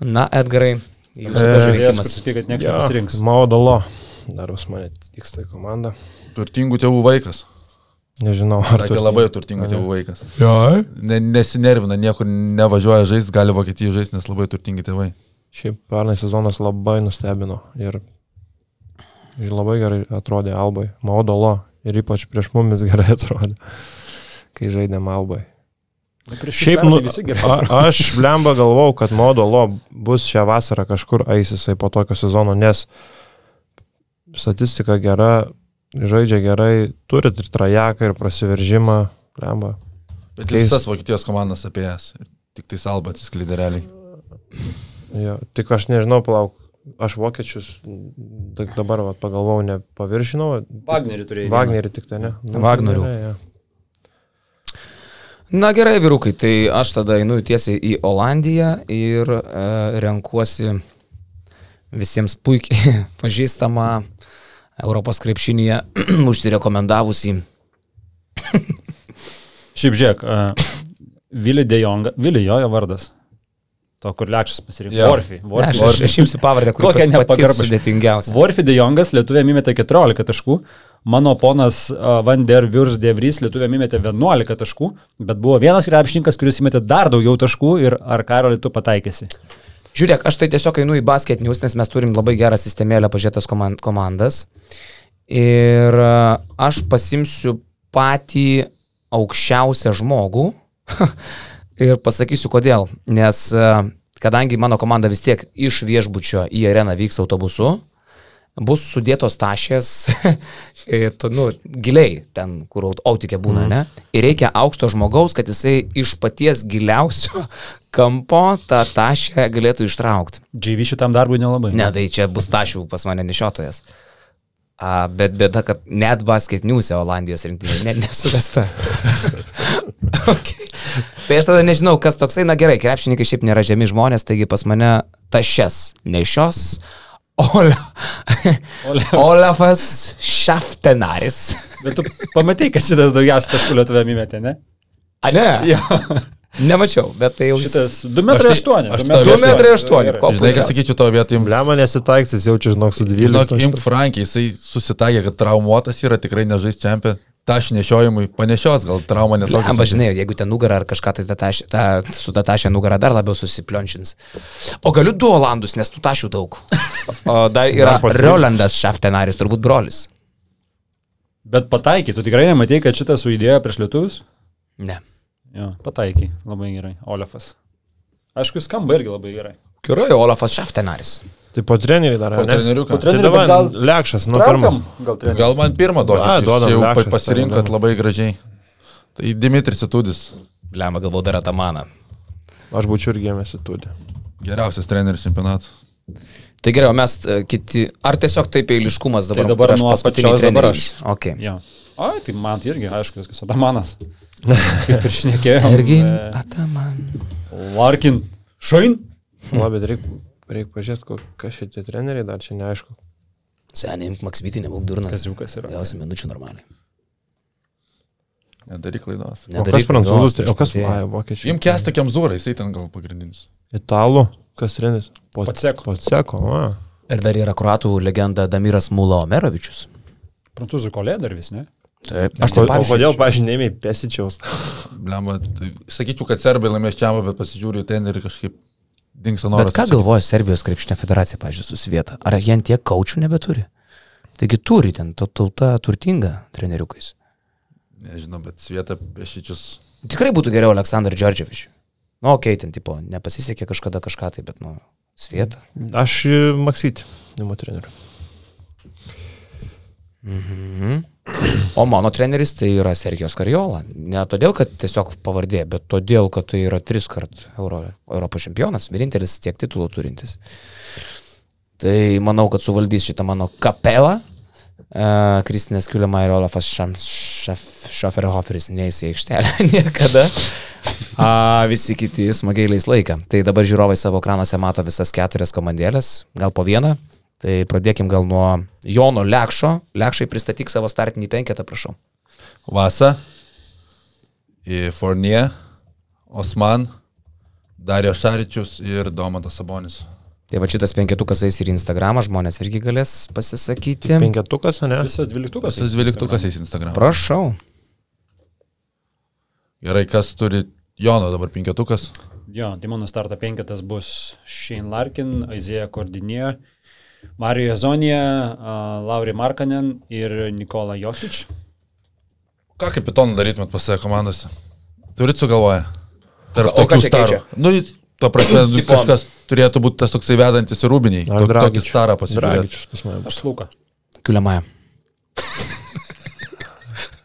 B: Na, Edgarai, jūsų
A: E,
D: Pasirinkimas.
B: pasirinkimas.
D: Sutikai, kad niekas nepasirinks.
A: Maudalo. Dar už mane vyksta į komandą.
C: Turtingų tėvų vaikas.
A: Nežinau, ar
C: Sakė
A: tu
C: labai turtingų tėvų vaikas.
A: Jo.
C: Ne, nesinervina, niekur nevažiuoja žaisti, gali Vokietijoje žaisti, nes labai turtingi tėvai.
A: Šiaip pernai sezonas labai nustebino ir ir labai gerai atrodė Albai. Maudalo ir ypač prieš mumis (laughs) gerai atrodė, kai žaidėm Albai. Šiaip, nu, a, aš blemba galvau, kad Modolo bus šią vasarą kažkur ais jisai po tokio sezono, nes statistika gera, žaidžia gerai, turit ir trajeką, ir prasiveržimą, blemba.
C: Bet
A: Keis-
C: visas Vokietijos komandas apie jas. Tik tai salba atsiskleidė realiai.
A: Jo, tik aš nežinau, palauk, aš vokiečius da- dabar vat, pagalvojau, nepaviršinau,
D: Wagnerį turėjai.
A: Wagnerį tik tai, ne?
B: Wagnerių.
A: ne, jo.
B: Na gerai, vyrukai, tai aš tada einu tiesiai į Olandiją ir e, renkuosi visiems puikiai (laughs) pažįstamą Europos krepšinėje (clears throat) užsirekomendavusi.
D: Šiaip žiūrėk, a, Vili Dejonga, Vili jo, jo vardas. To, kur lekšas pasirinko.
C: Jo.
D: Vorfi.
B: Ne,
D: Vorfi.
B: Aš, aš, aš imsiu pavardę,
D: Kokia
B: kokia
D: nepagarba.
B: nepagarbė sudėtingiausia.
D: Vorfi Dejongas lietuvėm įmetė 14 taškų, mano ponas a, Van der Virs Devrys lietuvėm įmetė 11 taškų, bet buvo vienas krepšininkas, kuris įmetė dar daugiau taškų ir ar karalį tu pataikėsi.
B: Žiūrėk, aš tai tiesiog einu į basket news, nes mes turim labai gerą sistemėlę pažėtas komand komandas. Ir a, aš pasimsiu patį aukščiausią žmogų (laughs) ir pasakysiu kodėl. Nes a, kadangi mano komanda vis tiek iš viešbučio į areną vyks autobusu, bus sudėtos tašės, (laughs) ir tu, nu, giliai ten, kur aut- autikė būna, mm. ne? Ir reikia aukšto žmogaus, kad jisai iš paties giliausio (laughs) kampo tą tašę galėtų ištraukti.
D: Džiavi šitam darbui nelabai.
B: Ne, tai čia bus tašių pas mane nešiotojas. A, bet bėda, kad net basketniuose Olandijos rinktinė net
D: (laughs)
B: nesuvesta. okay. Tai aš tada nežinau, kas toksai, na gerai, krepšininkai šiaip nėra žemi žmonės, taigi pas mane tašes nešios. Ola.
D: Olaf.
B: Olafas Šaftenaris.
D: Bet tu pamatai, kad šitas daugiausia taškų lietuvėm įmetė, ne?
B: A ne?
D: Jo.
B: Nemačiau, bet tai jau
D: Šitas 2,8
C: aš
D: m.
C: tau-
B: 2 metrai 8.
C: Žinai, ką sakyčiau tavo vietoj, imk
A: Lemon nesitaiksis, jaučiu, žinok, su
C: Žinok,
A: 12.
C: imk Frankį, jisai susitaikė, kad traumuotas yra, tikrai nežais čempionė. Taš nešiojimui, panešios, gal trauma netokia.
B: Amba, žinai, jeigu ten nugarą ar kažką, tai ta tašė, ta, su ta tašė nugarą dar labiau susipliončins. O galiu du Olandus, nes tų tašių daug. O dar yra
A: Dar po tris.
B: Rolandas Šaftenaris, turbūt brolis.
D: Bet pataikai, tu tikrai nematei, kad šitas suidėjo prieš lietuvius?
B: Ne.
D: Jo, pataikai, labai gerai. Olefas. Aišku, skamba irgi labai gerai.
B: Gerai, Olafas Šaftenaris.
A: Tai po trenerių dar.
C: Po
A: ne?
C: treneriuką.
A: Tai
C: Po
D: trenerių,
A: dabar
D: bet gal-
A: Lekšas, nu, pirmas.
D: Traukiam, gal trenerių.
C: Gal man pirmą
A: A,
C: duokit,
A: duodam
C: jūs jau
A: lešas,
C: pa- pasirinkot
A: duodam.
C: labai gražiai. Tai Dimitris Itudis,
B: Lemą galvoju dar Atamaną.
A: Aš būčiau ir gėmėsi turi.
C: geriausias treneris čempionatų.
B: Tai gerai, o mes e, kiti. Ar tiesiog taip eiliškumas dabar?
D: Tai dabar
B: aš
D: nuo
B: paskutinį
D: apačios dabar
B: trenerį.
D: aš.
B: Okay.
D: Jo. O, tai man tai irgi, aišku, viskas.
B: (laughs)
D: Adamanas. Kaip ir šnekėjau.
B: Irgi.
D: e,
B: Ataman.
D: Larkin. Šain.
A: Labai reikia reik pažiūrėti, ko- kas šitie treneriai dar čia neaišku.
B: Seniai, imk Maksytį, nebūk durnas.
D: Kaziukas yra.
B: Gausi minučių normaliai.
C: Nedaryk klaidos.
A: O kas prancūzus, tai o kas ai, vokiečiai?
C: Imk kestą kemzūrą, jisai ten gal pagrindinis.
A: Italų, kas treneris? Po
D: Paceko.
A: Paceko, va.
B: Ir dar yra kruatų legenda Damiras Mulo Omerovičius.
D: Prancūzų kolė dar vis, ne?
B: Taip. Aš
A: O
B: tai
A: o
B: pavyzdžiui.
A: kodėl, pažinėjai, pesičiaus?
C: Blemba, tai sakyčiau, kad serbai laimės čia, bet pasižiūriu į trenerį kažkaip dinksta
B: Bet
C: noras.
B: ką galvoja Serbijos krepšinio federacija, pavyzdžiui, susvieta? Ar jie ant tiek kaučių nebeturi? Taigi turi ten ta tauta turtinga treneriukais.
C: Nežinau, bet svieta pešičius.
B: Tikrai būtų geriau Aleksandr Džordževičius. Nu, okei, okay, ten tipo, nepasisekė kažkada kažką tai, bet, nu, svieta.
A: Aš e, Maksyti, nemu treneriu.
B: O mano treneris tai yra Sergijos Karjola. Ne todėl, kad tiesiog pavardė, bet todėl, kad tai yra tris kart Euro, Europos čempionas, vienintelis tiek titulų turintis. Tai manau, kad suvaldys šitą mano kapelą. Uh, Kristinės Kiuliama ir Olafas Šoferhoferis neįs į aikštelę (laughs) niekada. Uh, visi kiti smagiai leis laiką. Tai dabar žiūrovai savo ekranuose mato visas keturias komandėlės, gal po vieną. Tai pradėkim gal nuo Jono Lekšo. Lekšai pristatyk savo startinį penketą, prašau.
C: Vasa, į Fornie, Osman, Dario Šaričius ir Domantas Sabonis.
B: Tai va šitas penketukas eis ir į Instagramą, žmonės irgi galės pasisakyti.
A: Penketukas, ne?
D: Visas dvyliktukas.
C: Visas dvyliktukas eis Instagram.
B: Prašau.
C: Gerai, kas turi Jono dabar penketukas?
D: Jo, tai mano starto penketas bus Shane Larkin, Aizėja Kordinė, Marija Zonija, Lauri Markanen ir Nikola Jokič.
C: Ką kapitoną darytumėt pas save komandose? Turit sugalvoję? Tarp
B: O ką- o ką
C: tokių
B: čia
C: starų.
B: keičia?
C: Nu, to
B: (clears throat)
C: prasme, nu,
B: Tipo-
C: kažkas turėtų būti tas toksai vedantis ir rūbiniai.
A: Ar
C: Tok, tokį
A: Dragičius?
C: starą pasižiūrėti.
A: Dragičius pas mane.
D: Aš Luka.
C: (laughs)
B: Kiuliamaja.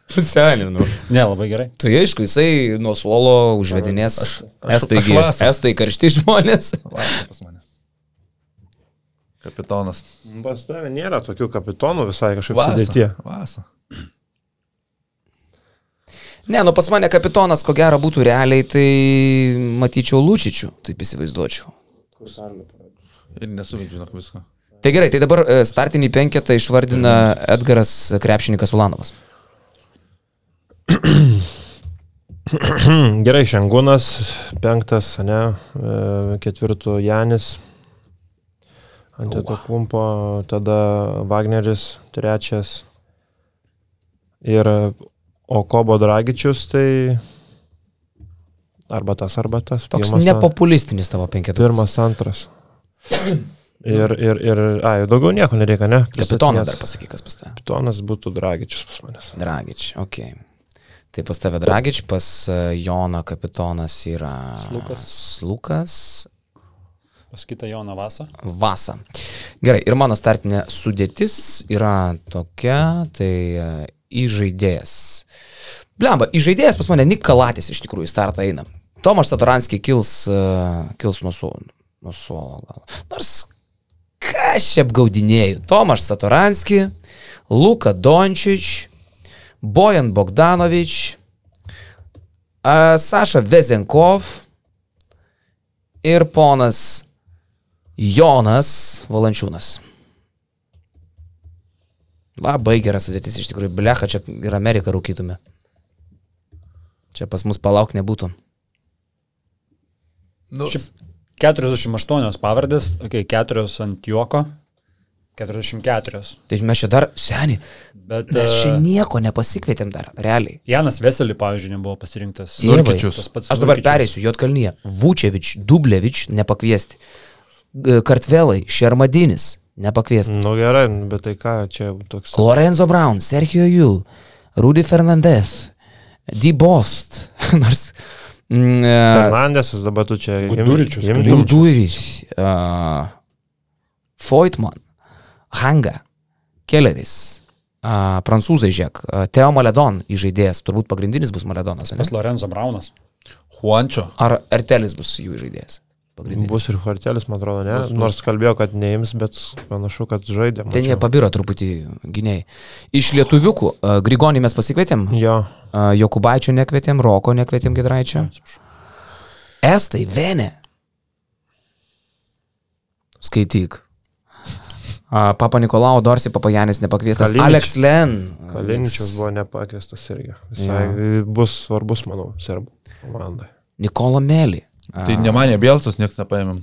B: Seninu.
D: Ne, labai gerai.
B: Tai aišku, jisai nuo suolo užvedinės. Estai,
C: aš vasarą.
B: estai karšti žmonės.
C: Kapitonas.
A: Pas tavę nėra tokių kapitonų visai kažkaip sudėtie.
C: Vasa. Vasa.
B: Ne, nu pas mane kapitonas, ko gero būtų realiai, tai matyčiau Lučičių, taip įsivaizduočiau.
C: Ir nesuvydžiu, žinok, visko.
B: Tai gerai, tai dabar e, startinį penketą išvardina Edgaras Krepšininkas Ulanovas.
A: Hmm, Gerai, Šengūnas, penktas, ne, e, ketvirtų Janis, ant to klumpo, tada Wagneris, trečias ir Okobo Dragičius, tai arba tas, arba tas.
B: Toks
A: Pirmas, an-
B: nepopulistinis tavo penketas.
A: pirmas,
B: (coughs)
A: antras. Ir, ir, ir, ai, daugiau nieko nereikia, ne?
B: Kapitonas
A: Pristatinės.
B: dar pasakyk, kas pas tave.
A: Kapitonas būtų Dragičius pas manęs.
B: Dragič, ok. Tai pas tave Dragič, pas e, Joną kapitonas yra
D: Slukas.
B: Slukas.
D: Pas kitą Joną Vasą.
B: Vasa. Gerai, ir mano startinė sudėtis yra tokia, tai e, įžaidėjas. Blemba, įžaidėjas pas mane Nikolatis iš tikrųjų į startą eina. Tomas Satoranskis kils, e, kils nuo suolo. Nuo suolo gal. Nors ką aš čia apgaudinėjau? Tomas Satoranskis, Luka Dončič, Bojan Bogdanovič, a, Saša Vezenkov ir ponas Jonas Valančiūnas. Labai gera sudėtis iš tikrųjų. Blecha, čia ir Ameriką rūkytume. Čia pas mus palauk nebūtų.
C: Nu,
D: Šiaip 48 pavardės, okay, 4 ant juoko, 44.
B: Tai mes čia dar, seniai,
D: Bet
B: mes čia
D: e,
B: nieko nepasikvietėm dar, realiai.
D: Janas Veselį, pavyzdžiui, nebuvo pasirinktas.
B: Dievai.
C: Nurkičius.
D: Tas pats
B: Aš dabar
D: Nurkičius.
B: perėsiu Jotkalnyje. Vučevič, Dublevič nepakviesti. G- Kartvelai, Šermadinis nepakviesti.
A: Nu gerai, bet tai ką, čia toks...
B: Lorenzo Brown, Sergio Jul, Rudy Fernandez, D. Bost, (laughs) nors... mm, e,
A: Fernandesas dabar tu čia... im-
D: Guduričius,
A: im-
D: Guduričius.
B: Dūduivis, uh, Foitman, Hanga, Kelleris, uh, prancūzai žiek, uh, Teo Maledon įžaidėjas, turbūt pagrindinis bus Maledonas.
D: Tas
B: Ne?
D: Lorenzo Braunas.
C: Juančio.
B: Ar Ertelis bus jų įžaidėjas? Pagrindinis.
A: Bus ir Hortelis, man atrodo, ne? Nors kalbėjo, kad neims, bet panašu, kad žaidė.
B: Ten jie
A: mačiau.
B: pabiro truputį gynėjai. Iš lietuviukų, uh, Grigonį mes pasikvietėm,
A: Jo,
B: uh, Jokubaičio nekvietėm, Roko nekvietėm Gedraičio. Estai, Vene. Skaityk. A, Papa Nikolau Dorsi, Papa Janis nepakviestas.
A: Kalinič.
B: Kalinič. Alex Len.
A: Kaliničius buvo nepakviestas irgi. Visai bus svarbus, manau, serbų komandai.
B: Nikola Meli. A,
C: Tai ne mane, Bielcas niekas nepaėmėm.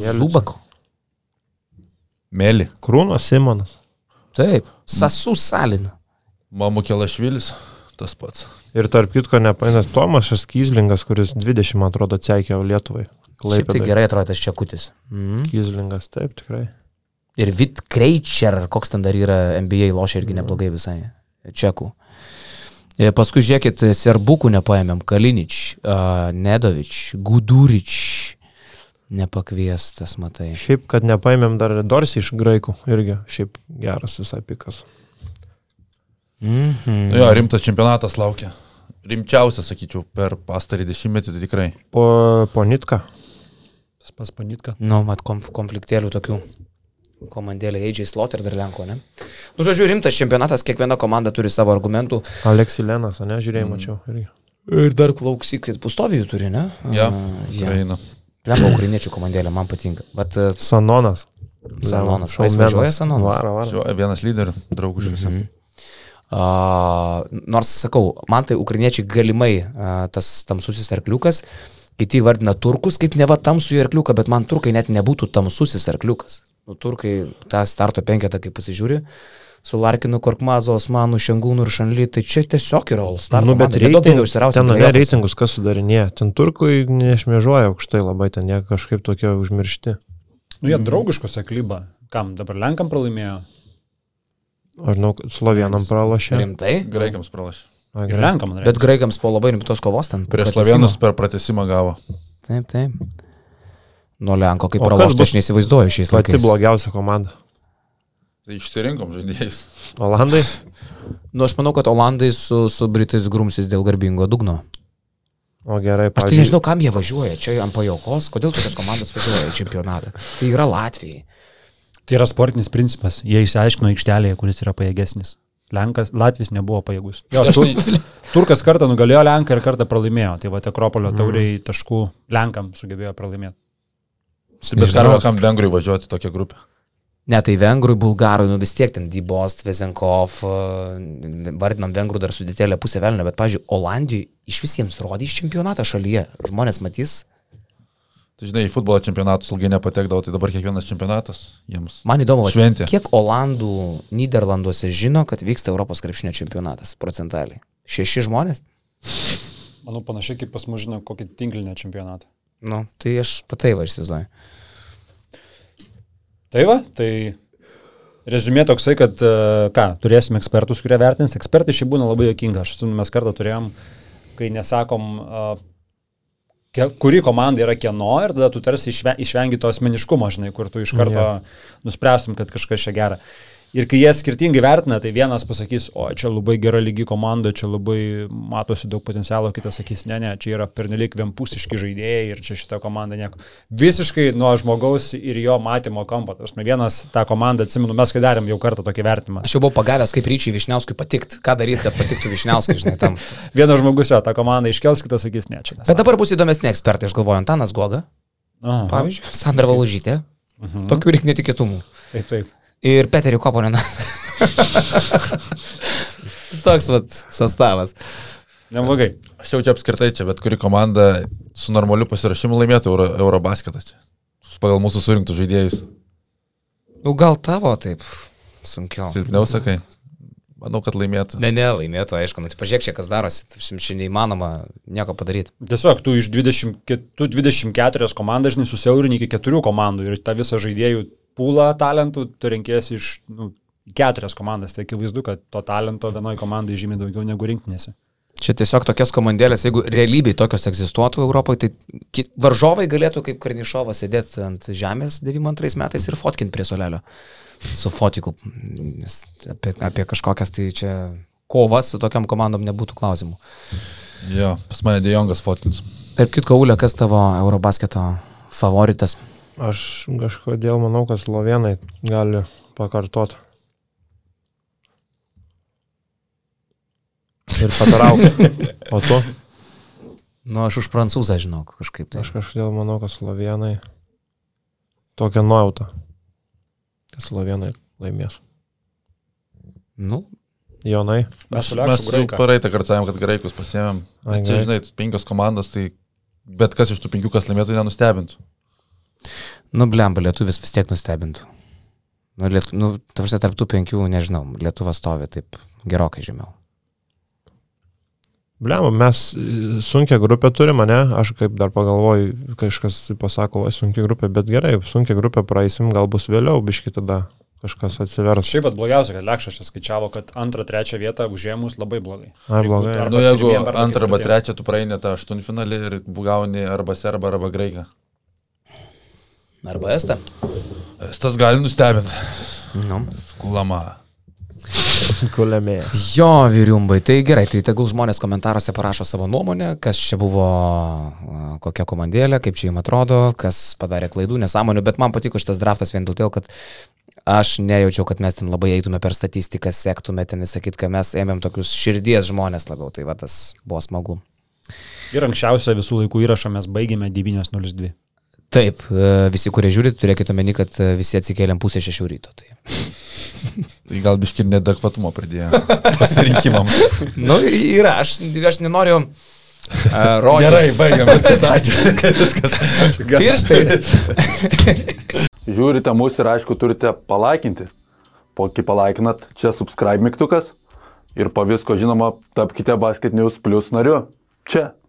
B: Zubako.
C: Mėly.
A: Krūnas Simonas.
B: Taip. Sasu Salina.
C: Mamu Kelašvilis, tas pats.
A: Ir tarp kitko, nepainęs Tomašas Kyslingas, kuris 20, man atrodo, atseikėjo Lietuvai.
B: Šiaip tai
A: Klaipėdai.
B: gerai atrodo tas čiakutis. Mm.
A: Kyslingas, taip, tikrai.
B: Ir Vit Kreičer, koks ten dar yra NBA lošia irgi neblogai visai. Čekų. E, Paskui žiūrėkit, Serbukų nepaėmėm. Kalinič, a, Nedovič, Gudurič nepakviestas, matai.
A: Šiaip, kad nepaėmėm dar Dorsi iš graikų, irgi šiaip geras visai pikas.
B: Mhm.
C: Nu jo, rimtas čempionatas laukia. Rimčiausias, sakyčiau, per pastarį dešimtmetį tai tikrai.
A: Po, po Nitka.
D: Tas pats Panitka.
B: Nu, mat, konf konfliktėlių tokių. Komandėlė Eidžiai Slot ir dar Lenko, ne? Nu, žodžiu, rimtas čempionatas, kiekviena komanda turi savo argumentų.
A: Aleksi Lenas, ne, žiūrėjau,
B: Mm.
A: mačiau. Irgi.
B: Ir dar klausyk, kad pustovijų turi, ne?
C: Ja,
B: ja.
C: Ukraina.
B: Lenko ukrainiečių komandėlė, man patinka. Bet e,
A: Sanonas.
B: Sanonas. O
A: Šaumenas.
B: jis važiuoja Sanonas?
A: Varo, varo.
C: Važiuoja vienas lyderių, draugų šiuose.
B: Mhm. A, nors sakau, man tai ukrainiečiai galimai a, tas tamsusis arkliukas, kiti vardina turkus kaip neva tamsųjį arkliuką, bet man turkai net nebūtų tamsusis arkliukas. Nu, turkai tą starto penketą, kaip pasižiūri, su Larkinu, Korkmazo, Osmanu, Šengūnu ir Šanly, tai čia tiesiog yra Olstar.
A: Nu, bet reiting, ten ne
B: reitingai.
A: reitingus kas sudarinėja. Ten turkui nešmėžuoja aukštai labai, ten jie kažkaip tokie užmiršti.
D: Nu,
B: Mhm.
D: jie draugiškose klyba. Kam dabar Lenkam pralaimėjo?
A: Aš žinau, kad slovėnam pralašė.
B: Rimtai?
C: Graikams pralašė.
A: Na,
D: Ir
A: gerai.
D: Lenkam, man
B: Bet
D: reikia.
B: graikams po labai rimtos kovos ten.
C: Prieš
B: pratęsimo.
C: Slovenus per pratesimą gavo.
B: Taip, taip. Nuo Lenko, kaip
A: O kas
B: pralošti,
A: bus
B: aš neįsivaizduoju šiais
A: Pati
B: laikais.
A: blogiausia komanda.
C: Tai išsirinkom žaidėjus.
A: Olandai?
B: Nu, aš manau, kad Olandai su, su Britais grumsis dėl garbingo dugno.
A: O gerai,
B: Aš tai
A: pavyzdžiui,
B: nežinau, kam jie važiuoja. Čia ant pajokos, kodėl tokios komandos važiuoja į čempionatą. Tai yra Latvijai.
D: Tai yra sportinis principas. Jie įsiaiškino aikštelėje, kuris yra pajėgesnis. Lenkas, Latvis nebuvo pajėgus. Jo, tu, turkas kartą nugalėjo Lenką ir kartą pralaimėjo. Tai va,
B: Mhm.
D: Akropolio tauriai taškų Lenkam sugebėjo pralaimėti.
C: Bet ar kam Vengrijai važiuoti tokią grupę?
B: Ne, tai vengrui, bulgarui, nu vis tiek ten Dybost, Vezenkov, e, vardinom vengrų dar su didelė pusė velnio, bet, pažiūrėjau, Olandijai iš visiems rodys čempionatą šalyje. Žmonės matys,
C: Tai žinai, į futbolo čempionatus ilgai nepatekdavo, tai dabar kiekvienas čempionatas jiems.
B: man įdomu, vat,
C: Šventė.
B: kiek Olandų Niderlanduose žino, kad vyksta Europos krepšinio čempionatas procentaliai. Šeši žmonės?
D: Manau, panašiai kaip pas mus žino kokį tinklinę čempionatą.
B: Nu, tai aš patai va įsivaizduoju.
D: Tai va, tai rezumė toksai, kad e, ką, turėsim ekspertus, kurie vertins. Ekspertai šiaip būna labai jokinga. Aš atsimenu, mes kartą turėjom, kai nesakom, e, ke- kuri komanda yra kieno ir tada tu tarsi išve- išvengi to asmeniškumo, žinai, kur tu iš karto yeah. nuspręstum, kad kažkas čia gera. Ir kai jie skirtingai vertina, tai vienas pasakys, o čia labai gera lygi komanda, čia labai matosi daug potencialo, kitas sakys, ne, ne, čia yra pernelik vienpusiški žaidėjai ir čia šita komanda nieko. Visiškai nuo žmogaus ir jo matymo kampo. Aš ne vienas tą komandą atsimenu, mes kai darėm jau kartą tokį vertimą.
B: Aš jau buvau pagavęs, kaip ryčiai Višniauskui patikt, ką daryti, kad patiktų Višniauskui, žinai, (laughs) tam.
D: Vienas žmogus jo tą komandą iškels, kitas sakys, ne, čia
B: Bet
D: ne.
B: dabar bus įdomesni ekspertai, aš galvoju, Antanas Goga, pavyzdžiui, Sandra Valužytė, tokių reikia netikėtumų.
D: Taip, taip.
B: Ir Peterį (laughs) Koponinas. Toks vat sastavas.
D: Neblogai.
C: Aš jau čia apskritai čia, bet kuri komanda su normaliu pasirašymu laimėtų Euro, Eurobasket čia. Pagal mūsų surinktų žaidėjus.
B: Nu, gal tavo taip sunkiau.
C: Silpniau sakai. Manau, kad laimėtų.
B: Ne, ne, laimėtų, aišku, nu, tai pažiūrėk čia, kas darosi, čia neįmanoma nieko padaryti.
D: Tiesiog tu iš 20, tu 24 komandas, žinai, susiaurini iki 4 komandų ir tą visą žaidėjų pūlą talentų tu renkėsi iš nu, 4 komandas, tai akivaizdu, kad to talento vienoje komandai žymiai daugiau negu rinktinėse.
B: Čia tiesiog tokias komandėlės, jeigu realybėj tokios egzistuotų Europoje, tai ki- varžovai galėtų kaip Karnišovas sėdėti ant žemės 92 metais ir fotkinti prie solelio su fotiku. Nes apie, apie kažkokias tai čia kovas su tokiam komandom nebūtų klausimų.
C: Jo, pas mane Dejongas fotkins.
B: Tarp kitko, Ulė, kas tavo Eurobasketo favoritas?
A: Aš kažkodėl manau, kad slovenai gali pakartot. Ir
B: (laughs)
A: patraukti. O tu?
B: Nu, aš už prancūzą žinau kažkaip. Tai.
A: Aš kažkodėl manau, kad slovenai tokią nuojautą. Kad slovenai laimės.
B: Nu,
A: Jonai.
D: Mes su
C: Mes
D: Lekšu
C: jau
D: graiką.
C: paraitą kartą sakėm, kad graikus pasiemėm.
A: Ai,
C: Bet čia,
A: gerai.
C: žinai, penkios komandos, tai bet kas iš tų penkių, kas laimėtų, nenustebintų.
B: nu blemba, lietuvis vis tiek nustebintų. Nu, liet, nu tarsi tarptų penkių, nežinau, Lietuva stovi taip gerokai žemiau.
A: Blem, mes e, sunkią grupę turime, ne? Aš kaip dar pagalvoju, kažkas pasako, va, sunkią grupę, bet gerai, sunkią grupę praeisim, gal bus vėliau, biški tada kažkas atsivers.
D: Šiaip pat blogiausia, kad Lekšas čia skaičiavo, kad antrą, trečią vietą užėmus labai blogai.
A: Ai, blogai.
D: Arba
C: Na, nu, jeigu
D: pirmiem, arba
C: antrą arba
D: ketvirtiem.
C: trečią tu praeini tą aštuntfinalį ir gauni arba serbą, arba graiką.
B: Arba estą.
C: Tas gali nustebinti.
B: Nu.
C: Kulama.
A: Kulėmė.
B: Jo, viriumbai, tai gerai, tai tegul žmonės komentaruose parašo savo nuomonę, kas čia buvo, a, kokia komandėlė, kaip čia jums atrodo, kas padarė klaidų, nesąmonių, bet man patiko šitas draftas vien dėl to, kad aš nejaučiau, kad mes ten labai eitume per statistiką, sektume ten visą kitką, mes ėmėm tokius širdies žmonės labiau, tai va tas buvo smagu.
D: Ir anksčiausią visų laikų įrašą mes baigėme 9.02.
B: Taip, e, visi, kurie žiūrit, turėkite omeny, kad e, visi atsikėlėm pusę šešių ryto. Tai.
C: Tai gal biški nedekvatumo
D: (laughs)
C: pridėjo pasirinkimams.
B: Na, nu, yra, aš, aš nenoriu uh, rodyti.
C: Gerai, baigiam. Viskas, ačiū. (laughs) Viskas.
B: Pirštais.
E: žiūrite mus ir aišku turite palaikinti. Po kai palaikinat, čia subscribe mygtukas ir po visko žinoma tapkite Basket News Plus nariu. Čia.